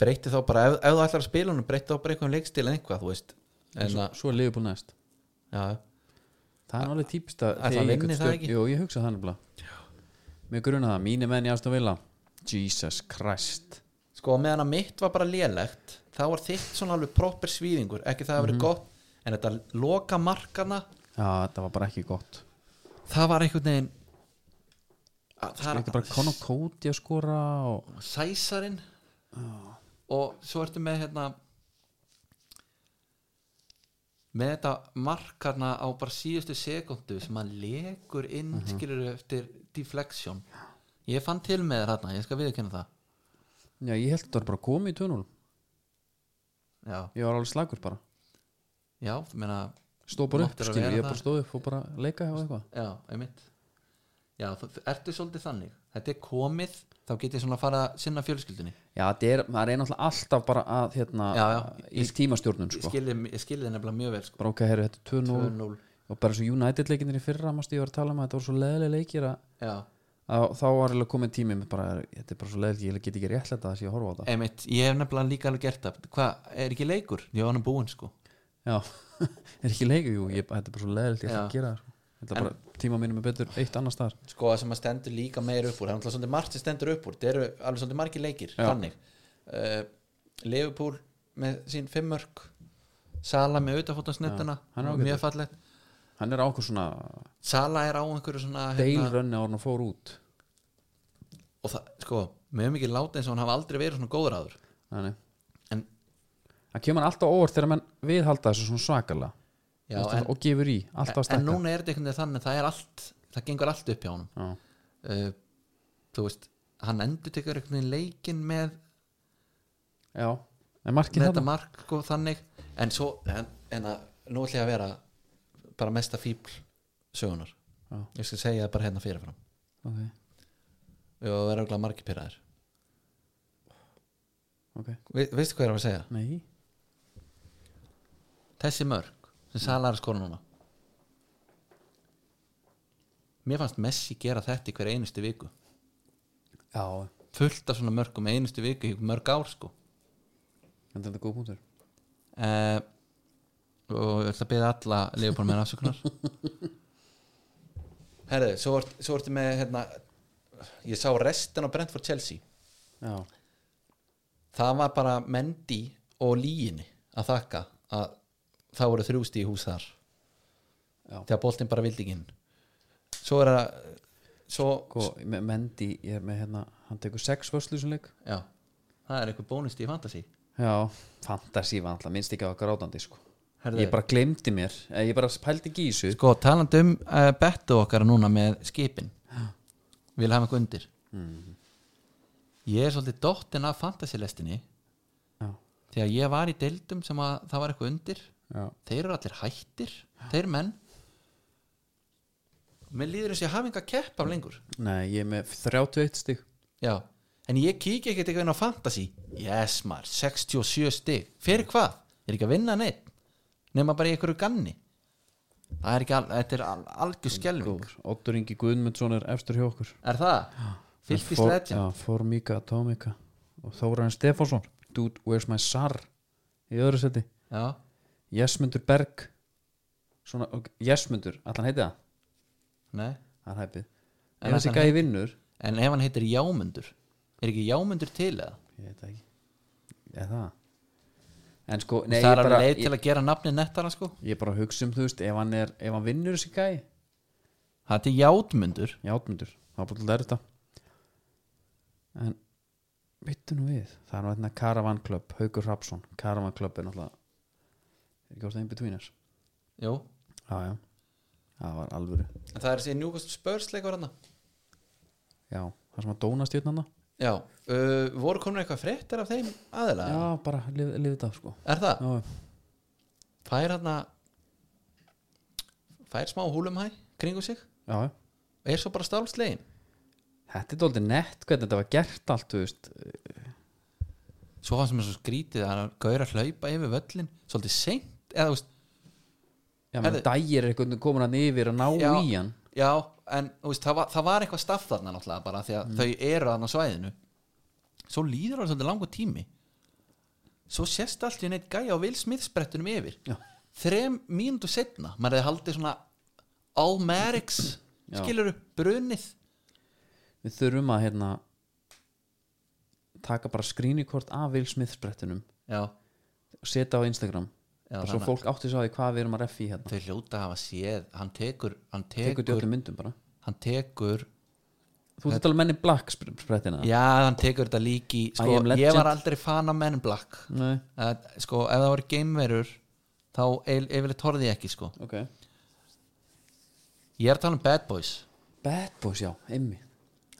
breytti þá bara, ef, ef þú ætlar að spila hún breytti þá bara eitthvað um leikstil en eitthvað, þú veist en
svo,
að,
svo er Liverpool næst
já,
það er alveg típist að
Ætli
þegar
hann
ég
vinni
get
það
stjórn-
ekki?
jú, ég hugsa það nefnilega mér gruna það, mínu menn í Aston Villa Jesus Christ
sko á meðan að mitt var bara lélegt þá var þitt svona alveg proper svíðingur ekki það að
Mhm.
verið gott en þetta loka markana
já, þetta var bara ekki gott
það var einhvern veginn að,
það er Sko, ekki bara Conor Cody að skora og...
sæsarinn og svo ertu með hérna með þetta markarna á bara síðustu sekundu sem hann lekur inn
Mhm.
uh eftir deflection ég fann til með þér hérna, ég skal viðkynna það
já, ég held þetta var bara komið í 2-0
já,
ég var alveg slagur bara
já, þú meina
stóð bara upp,
Máttir að
skilur,
vera
ég bara
það.
stóð upp og bara leika og eitthvað
já, einmitt já, þú þú- ertu svolítið þannig þetta er komið, þá get ég svona að fara að sinna fjölskyldunni
já, það er, maður er náttúrulega alltaf bara að hérna,
Já, já.
í tímastjórnun
ég
sko.
skilði, ég skilði þið nefnilega mjög vel sko.
bara ok, herru, þetta er 2-0
2-0,
og bara eins og United leikinir í fyrra mástu ég var að tala um að þetta voru svo leðileg leikir að,
já
að þá var alveg komið tími með bara, þetta er bara svo leðileg, ég get ekki réttlega það að ég horfa á það
Einmitt, ég hef nefnilega líka alveg gert það Hvað, er ekki leikur? Ég var hann búinn sko
já, er ekki leikur, jú, ég, þetta er bara svo leðileg ég ætla að
Já.
gera það sko. Þetta er bara, tíma mínum er betur eitt annars staðar
Sko, það sem að stendur líka meir upp úr Það er náttúrulega svolítið margt sem stendur upp úr Það eru alveg svolítið margir leikir,
Já.
þannig uh, Leifupúl með sín fimmörk Sala með auðafótansnettuna
Já, hann er ágætur.
Mjög fallegt
hann er á okkur svona
Sala er á einhverju svona hérna,
deilrönni á hann og fór út
Og það, sko, mjög mikið láta eins og hann hafa aldrei verið svona góður áður
þannig,
En,
það kemur hann alltaf á óvart þegar menn viðhalda þessu svona svakalega
já,
Þú veist,
en,
og gefur í, alltaf að
en
stækka
núna er þetta einhvern veginn þannig að Það er allt, það gengur allt upp hjá honum
Já.
uh, Þú veist, hann endur tekur einhvern veginn leikinn með
já, en markið
með þetta
þetta
mark og þannig en svo, en, en að nú ætlum ég að vera bara mesta fíbl sögunar
Já.
ég skal segja það bara hérna fyrirfram
ok,
og það er auðvitað margir pyrraðir
ok,
Vi, veistu hvað ég er að segja?
nei
þessi mörg sem salar skora núna mér fannst Messi gera þetta í hverja einustu viku
já,
fullt af svona mörgum í einustu viku í mörg ár sko
en þetta er góð punktur
uh, og ég ætla að byrja alla liðbúin með afsökunar Herðu, svo ert- svo ertu með hérna, ég sá restin á Brentford Chelsea
já,
það var bara Mendy og Líini að þakka að það voru þrjústi í hús þar
Já.
þegar boltinn bara vildi ekki inn svo er það svo,
sko, me- Mendy ég er með hérna, hann tekur sex vörslu sem leik
já, það er eitthvað bónusti í fantasy
já, fantasi var alltaf, minnst ekki að grátandi sko.
Herðu.
ég bara glemdi mér eh, ég bara pældi ekki í þessu
Sko, talandi um uh, bettu okkar núna með skipin Vil hafa eitthvað undir Ég er svolítið dottinn af fantasilestinni
já,
Þegar ég var í deildum sem að það var eitthvað undir
já,
Þeir eru allir hættir, þeir menn Mér líður þess að ég hafa enga kepp af lengur
nei, ég er með 31 stig
Já, en ég kíkja ekkert eitthvað inn á fantasi Yes maður, 67 stig Fyrir hvað? Ég er ekki að vinna neitt Nefna bara í einhverju ganni Það er ekki, al, þetta er al, algjör skelving
Góður. Oddur Ingi Guðmundsson er efstur hjá okkur
Er það? Fylgis
For-
legend
já, Formica Atomica og Þóraðin Stefánsson Dude, where's my sar í öðru seti
já.
Jesmundur Berg svona, ok, Jesmundur, allan heiti það
Nei,
það er hæpið
En
ef þessi
ætli hann
gæði vinnur
en ef hann heitir Jámundur er ekki Jámundur til eða
ég veit það ekki eða það en sko, nei,
Nei,
ég
það er
bara,
alveg leið til
ég,
að gera nafni nettara sko
ég bara hugsa um þú veist ef hann, er, ef hann vinnur þessi gæ
það er til Játmundur
játmundur, það var bara lærið það en vittu nú við, það er nú þetta Caravan Club Haukur Hrafsson, Caravan Club er náttúrulega er ekki ástæðin between us
Jú.
já, já, það var alvöru
en það er þessi njúkast spörsleikur hann
já, það sem að hérna dóna stjórnanda
já, uh, voru komin eitthvað fréttir af þeim aðila
já, bara lifið lif þetta sko
er það?
já,
fær hann fær smá húlumhæ kringu sig
já, já
er svo bara stálslegin
Þetta er dóldi nett hvernig þetta var gert allt, þú veist
svo fannst mér svo skrítið að hann gaur að hlaupa yfir völlin svolítið seint eða þú veist
Já, menn
Herðu-
dægir er einhvern veginn komin hann yfir að ná
Já.
í hann
já en þú veist það var, það var eitthvað staff þarna náttúrulega bara því
Mm.
að þau eru þarna á svæðinu svo líður það svolítið langa tími svo sést allt í neitt gæja á Will Smith sprettunum yfir
Já.
þrem mínútu setna maður hefði haldið svona Almerix
Já.
skilur upp brunnið
Við þurfum að hérna taka bara skrýnikort af Will Smith sprettunum
já,
og setja á Instagram
já
bara svo
þannig að
fólk átti svo að því hvað við erum að reffi hérna
þau hljóta að hafa séð hann tekur, hann
tekur
tekur,
djóttum myndum bara
hann tekur
Þú ert að tala um menni black spr- sprettina
já, hann tekur þetta líki
I
sko,
am legend.
ég var aldrei fan af Men in Black
Nei,
að, sko, ef það voru geimverur þá eil- yfirleitt horfði ég ekki sko
ok
ég er að tala um Bad Boys
Bad Boys, já, emmi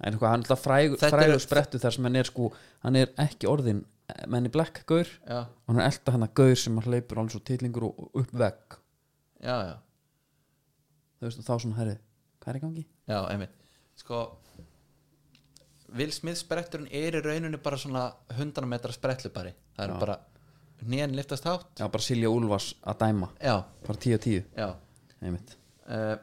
En hvað, hann er alltaf frægur,
Þetta
frægur
eru-
sprettu þar sem hann er sko hann er ekki orðin eh, menni black gaur
já,
og hann er elda hann að gaur sem hann hleypur alveg svo titlingur og og upp vegg
já, já,
þú veist, og þá svona herri, hvað er í gangi?
já einmitt sko Will Smith spretturinn er í rauninni bara svona 100 metra spretlubari það er
Já.
bara nén liftast hátt
Já, bara Silja Úlfars að dæma
já,
bara 10 og 10,
já
einmitt
uh,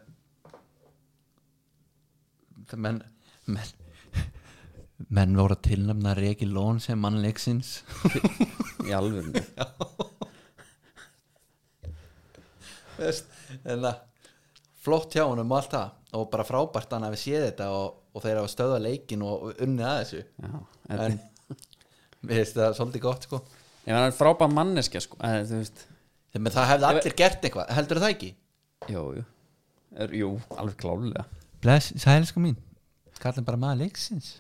menn menn menn voru að tilnefna Regi Lón sem mann leiksins
í alvörinu
Veist, en það flott hjá honum og allt það og bara frábært hann hafi séð þetta og, og þeir hafa stöðað leikin og unnið að þessu
Já, en,
en mér finnst það svolítið gott sko
ef hann er frábæð manneskja sko, eða, þú veist
þegar með það hefði allir gert eitthvað, heldur það ekki?
jú, jú, er, jú, alveg klálega
Bless, sælsku mín kallum bara maður leiksins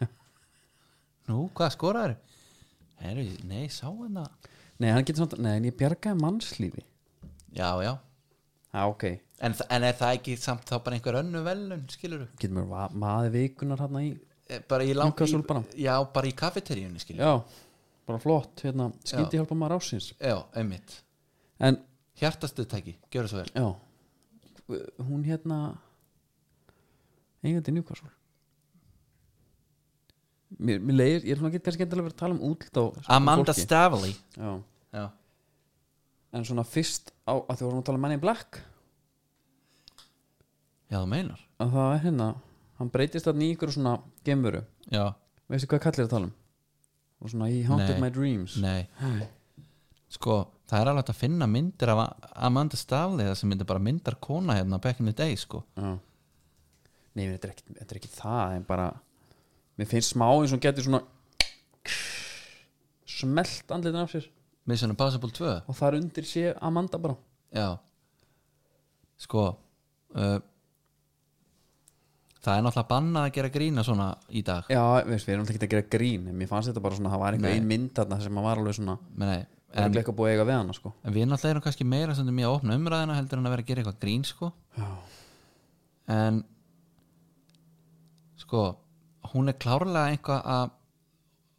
nú, hvað skoraður? Heru, nei, sá hann að
Nei, hann getur svona, nei, en ég bjargaði mannslífi
já, já,
Já, ok,
en, þa- en er það ekki samt þá bara einhver önnu velun, skilur
getur mér va- maður vikunar hann í
E, bara í lang
Newcastle bara.
í, já, bara í kafeteríunni, skilur
Já, bara flott, hérna, skyndi hjálpa maður ásins
já, einmitt
En,
hjartastuðtæki, gjör það svo vel
já, hún hérna eigandi Newcastle Mér, mér leiðir, ég er svona ekki kannski endilega verið að tala um útlit á
Amanda
fólki.
Stavely
Já,
Sko, já.
en svona fyrst á að því vorum að tala um manni black
já, þú meinar
að það er hérna, hann breytist þarna í ykkur svona gemveru,
já,
veistu hvað kallir að tala um og svona í Haunted
Nei.
My Dreams
nei sko, það er alveg hægt að finna myndir af Amanda Stavely það sem myndir bara myndar kona hérna back in the day, sko
Já. Nei, menn, þetta er ekkit, þetta er ekkit það en bara, mér finnst smá eins og hún getur svona smelt andlitin af sér
Mission Impossible 2
og þar undir sé Amanda bara
já sko uh, það er náttúrulega bannað að gera grína svona í dag
Já, veist, við erum alltaf ekki að gera grín en mér fannst þetta bara svona, það var einhver
Nei.
ein mynd þarna sem að var alveg svona,
Nei,
það er
en,
ekki að búið að eiga við hana sko.
en við náttúrulega erum kannski meira sem mjög að opna umræðina heldur en að vera að gera eitthvað grín, sko
Já,
en sko hún er klárlega eitthvað að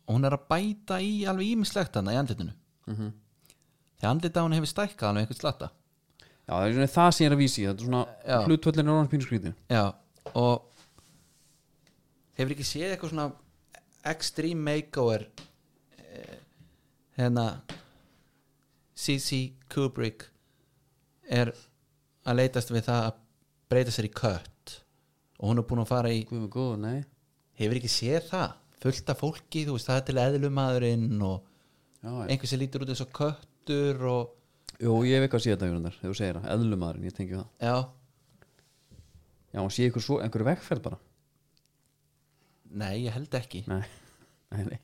hún er að bæta í alveg ímislegt hana í andlitinu því andlita hún hefur stækkað alveg einhvern slatta
Já það er svona það sem ég er að vísi þetta er
Já.
svona hlutvöllin er orðan pínu skrítin
já og hefur ekki séð eitthvað svona extreme makeover eh, hérna C.C. Kubrick er að leitast við það að breyta sér í kött og hún er búin að fara í
Guð með góð, nei
hefur ekki séð það fullt af fólki, þú veist, það er til eðlumadurinn og
Já, já.
einhver sem lítur út eins og köttur og
Jú, ég hef eitthvað að sé þetta jörundar, þegar þú segir það, eðlumadurinn, ég tengi við það
já,
Já, hún sé ykkur svo, einhverju vegferð bara
Nei, ég held ekki
Nei, nei, nei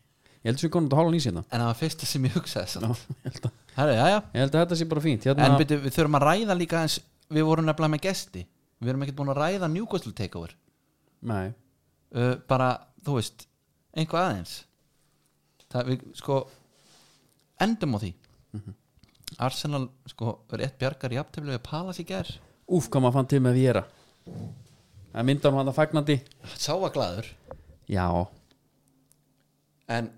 Ég held að við konum þetta hálfa nýs hérna
En það var fyrsta sem ég hugsaði
Já,
no.
ég held að-
Herri, já, já.
ég held að þetta sé bara fínt
En
hérna,
byrju, við þurfum að ræða líka eins Við vorum nefnilega með gesti Við erum ekkert búin að ræða Newcastle takeover
Nei,
uh, Bara, þú veist, einhvað aðeins Það við, sko Endum á því Arsenal, sko, rétt bjargar í aftefli Við Palace í gær
úf, hvað maður fann til með að vera Það mynda hann að fagnandi
Sá var glaður
Já,
En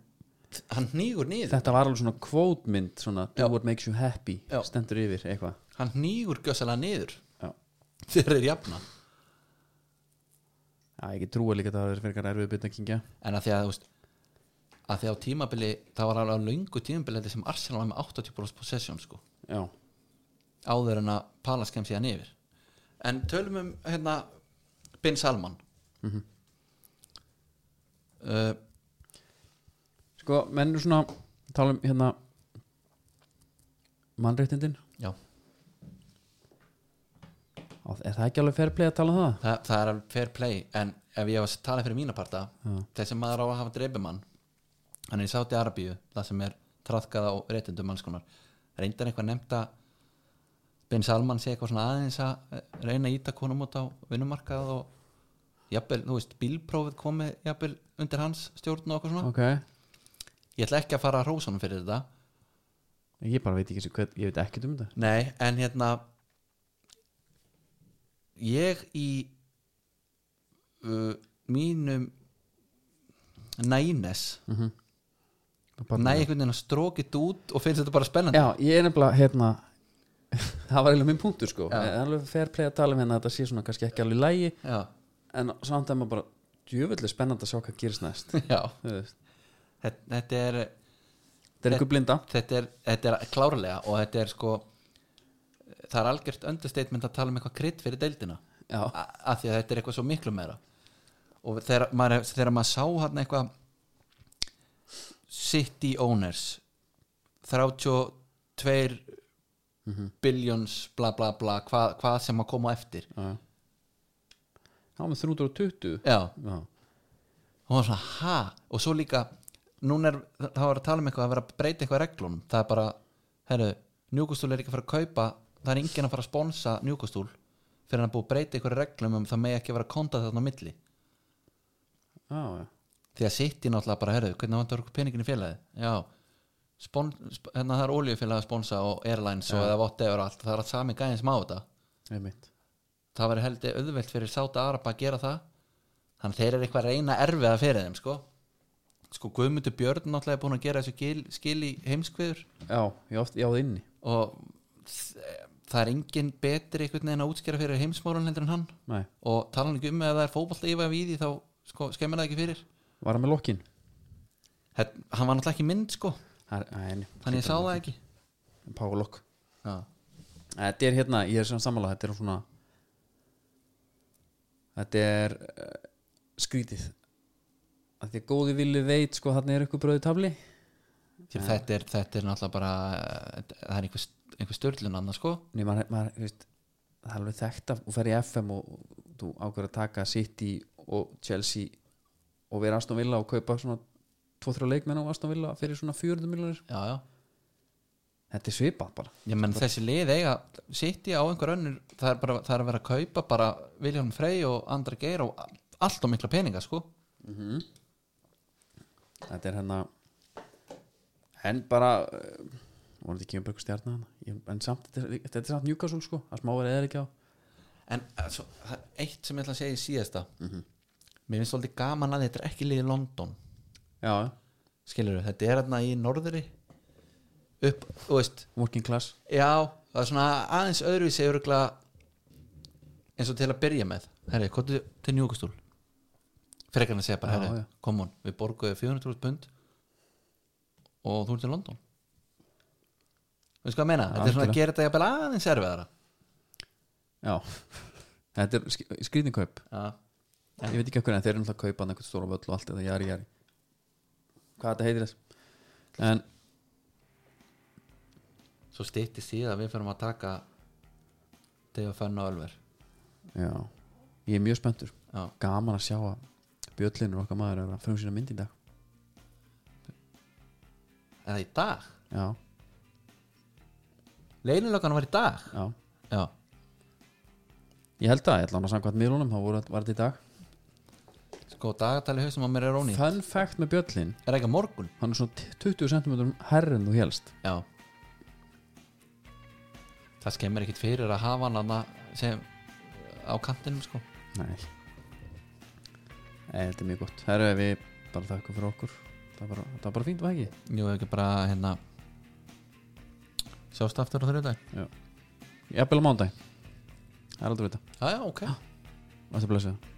hann hnígur niður
þetta var alveg svona kvótmynd svona, do
Já.
what makes you happy
Já.
stendur yfir eitthvað
Hann hnígur gjössalega niður
Já.
Þeir eru jafna
Já, ég ekki trúa líka að það er fyrir eitthvað erfið byrna kingja
en að því að þú veist að því á tímabili, það var alveg á löngu tímabili þetta sem Arsenal var með 80% possession sko,
Já,
áður en að Palace kem síðan yfir en tölum um hérna Bin Salman uh,
sko, menn eru svona tala um hérna mannréttindin
já,
Á, Er það ekki alveg fair play að tala um það?
það, það er alveg fair play en ef ég var að tala fyrir mína parta
Já.
þessi maður á að hafa dreifumann hann er í Sáti Arabíu, það sem er traðkað á reytindum mannskonar reyndar einhvað nefnda Ben Salman sé eitthvað svona aðeins að eh, reyna að íta konum út á vinnumarkað og jafnvel, þú veist, bílprófið komið jafnvel undir hans stjórn og okkur svona
Ok,
ég ætla ekki að fara að rósa honum fyrir þetta
ég bara veit ekki sem hvað, ég veit ekki um þetta
Nei, en hérna ég í uh, mínum nænes
Bara-
næ einhvern veginn að strókið út og finnst þetta bara spennandi
Já, ég er nefnilega, hérna það var eiginlega minn punktur sko
Já.
Það er alveg fair play að tala um hérna að þetta sé svona kannski ekki alveg í lægi
Já,
en samt að maður bara djöfulli spennandi að sjá hvað gerist næst
já,
Þú veist,
Þetta, þetta er
þetta er einhver blinda
þetta er, þetta er klárlega og þetta er sko það er algjört understatement að tala um eitthvað krydd fyrir deildina
Já.
A- af því að þetta er eitthvað svo miklu meira og þegar maður, þegar maður sá hann eitthvað City Owners 32 billions bla bla bla hvað hva sem að koma á eftir
Já, Já, með 320
já,
Já,
og hann var svona ha og svo líka, núna er það var að tala um eitthvað að vera að breyta eitthvað reglunum það er bara, herru, njúkustúl er ekki að fara að kaupa það er enginn að fara að sponsa njúkustúl fyrir hann að búið að breyta eitthvað reglum um það megi ekki að vera að konta þarna á milli
já, já
því að sitt í náttúrulega bara, herru, hvernig vantar okkur peningin í félagið já, spon, sp hérna það er oljufélagið að sponsa og airlines og eða whatever og allt, það er allt sami gæðin sem á þetta
Einmitt.
það verður heldur auðvelt fyrir Sáta Araba að gera það þannig þeir eru eitthvað að reyna erfiða fyrir þeim sko sko Guðmundur Björn náttúrulega er búin að gera þessu gil, skil í heimskviður
Já, ég oft, ég á það inni
og þ- það er engin betri einhvern veginn að útskjara fyrir heimsmórun heldur en hann
Nei,
og tala hann ekki um að það er fótballt yfað við því þá sko, skemmir það ekki fyrir
var hann með lokkin
Þetta, hann var náttúrulega ekki mynd sko þannig ég sá það ekki
Pálokk
já,
Þetta er hérna, ég er sem sammála Þetta er svona Þetta er uh, skrítið að því að góði villi veit sko þarna er ykkur bröði tafli
Því þetta, er, þetta er náttúrulega bara eh, það er einhver, st- einhver störlun annað sko
Nei, maður, maður, þú veist, það er alveg þekkt að þú fer í FM og og þú ákveður að taka City og Chelsea og vera Aston Villa og kaupa svona 2-3 leikmenn á Aston Villa fyrir svona 40 miljonir
já, já
Þetta er svipað bara
Já, menn þessi lið eiga City á einhver önnur það er, bara, það er að vera að kaupa bara Viljan Frey og Andra Geir og allt og mikla peninga sko
Þetta er hérna en bara uh, voru þetta ekki um börgur stjarnar hana en samt, þetta er, þetta er samt Newcastle sko að smá verið eða ekki á
en eh, svo, það er eitt sem ég ætla að segja í síðasta mér finnst svolítið gaman að þetta er ekki lið í London
Já,
skilur við, þetta er hérna í norðri upp, þú veist
working class
já, það er svona aðeins öðruvísi örugla eins og til að byrja með herri, komdu til njúkastúl frekarna segja bara,
Já,
herri,
já.
kom hún við borguðu 400.000 pund og þú ert til London veistu hvað að meina?
Já,
þetta er svona
algjörlega.
að gera þetta jafnvel aðeins erfiðara
Já, þetta er sk skrýtingkaup
já,
Ég veit ekki okkur en þeir eru náttúrulega að kaupa hann eitthvað stóra völl og allt þetta jari jari Hvað þetta heitir þess En
svo stýttist í það að við fyrir að taka þegar fann á Ölver
Já, ég er mjög spenntur
já,
Gaman að sjá að Bjöllinur okkar maður er að frum sína mynd í dag
Er það í dag?
Já,
Leynilokan var í dag
já
Já,
Ég held að, ég ætla hann að samkvæmt miðlunum þá voru, var þetta í dag
sko dagatali hausum á mér er ónýtt
Fun fact með Bjöllin,
Er það ekki á morgun?
hann er svona 20 cm herri en þú helst
Já Það skemmir ekkit fyrir að hafa hann að sem á kantinum sko
Nei Nei, þetta er mjög gott Herru, við bara þakkum fyrir okkur Það var bara, það var bara fínt, var það ekki?
Jú, ekki bara hérna Sjást aftur á þriðdag
Jafnvel á mándæg Það er aldrei vita
Já, já, ok
Þetta blessaða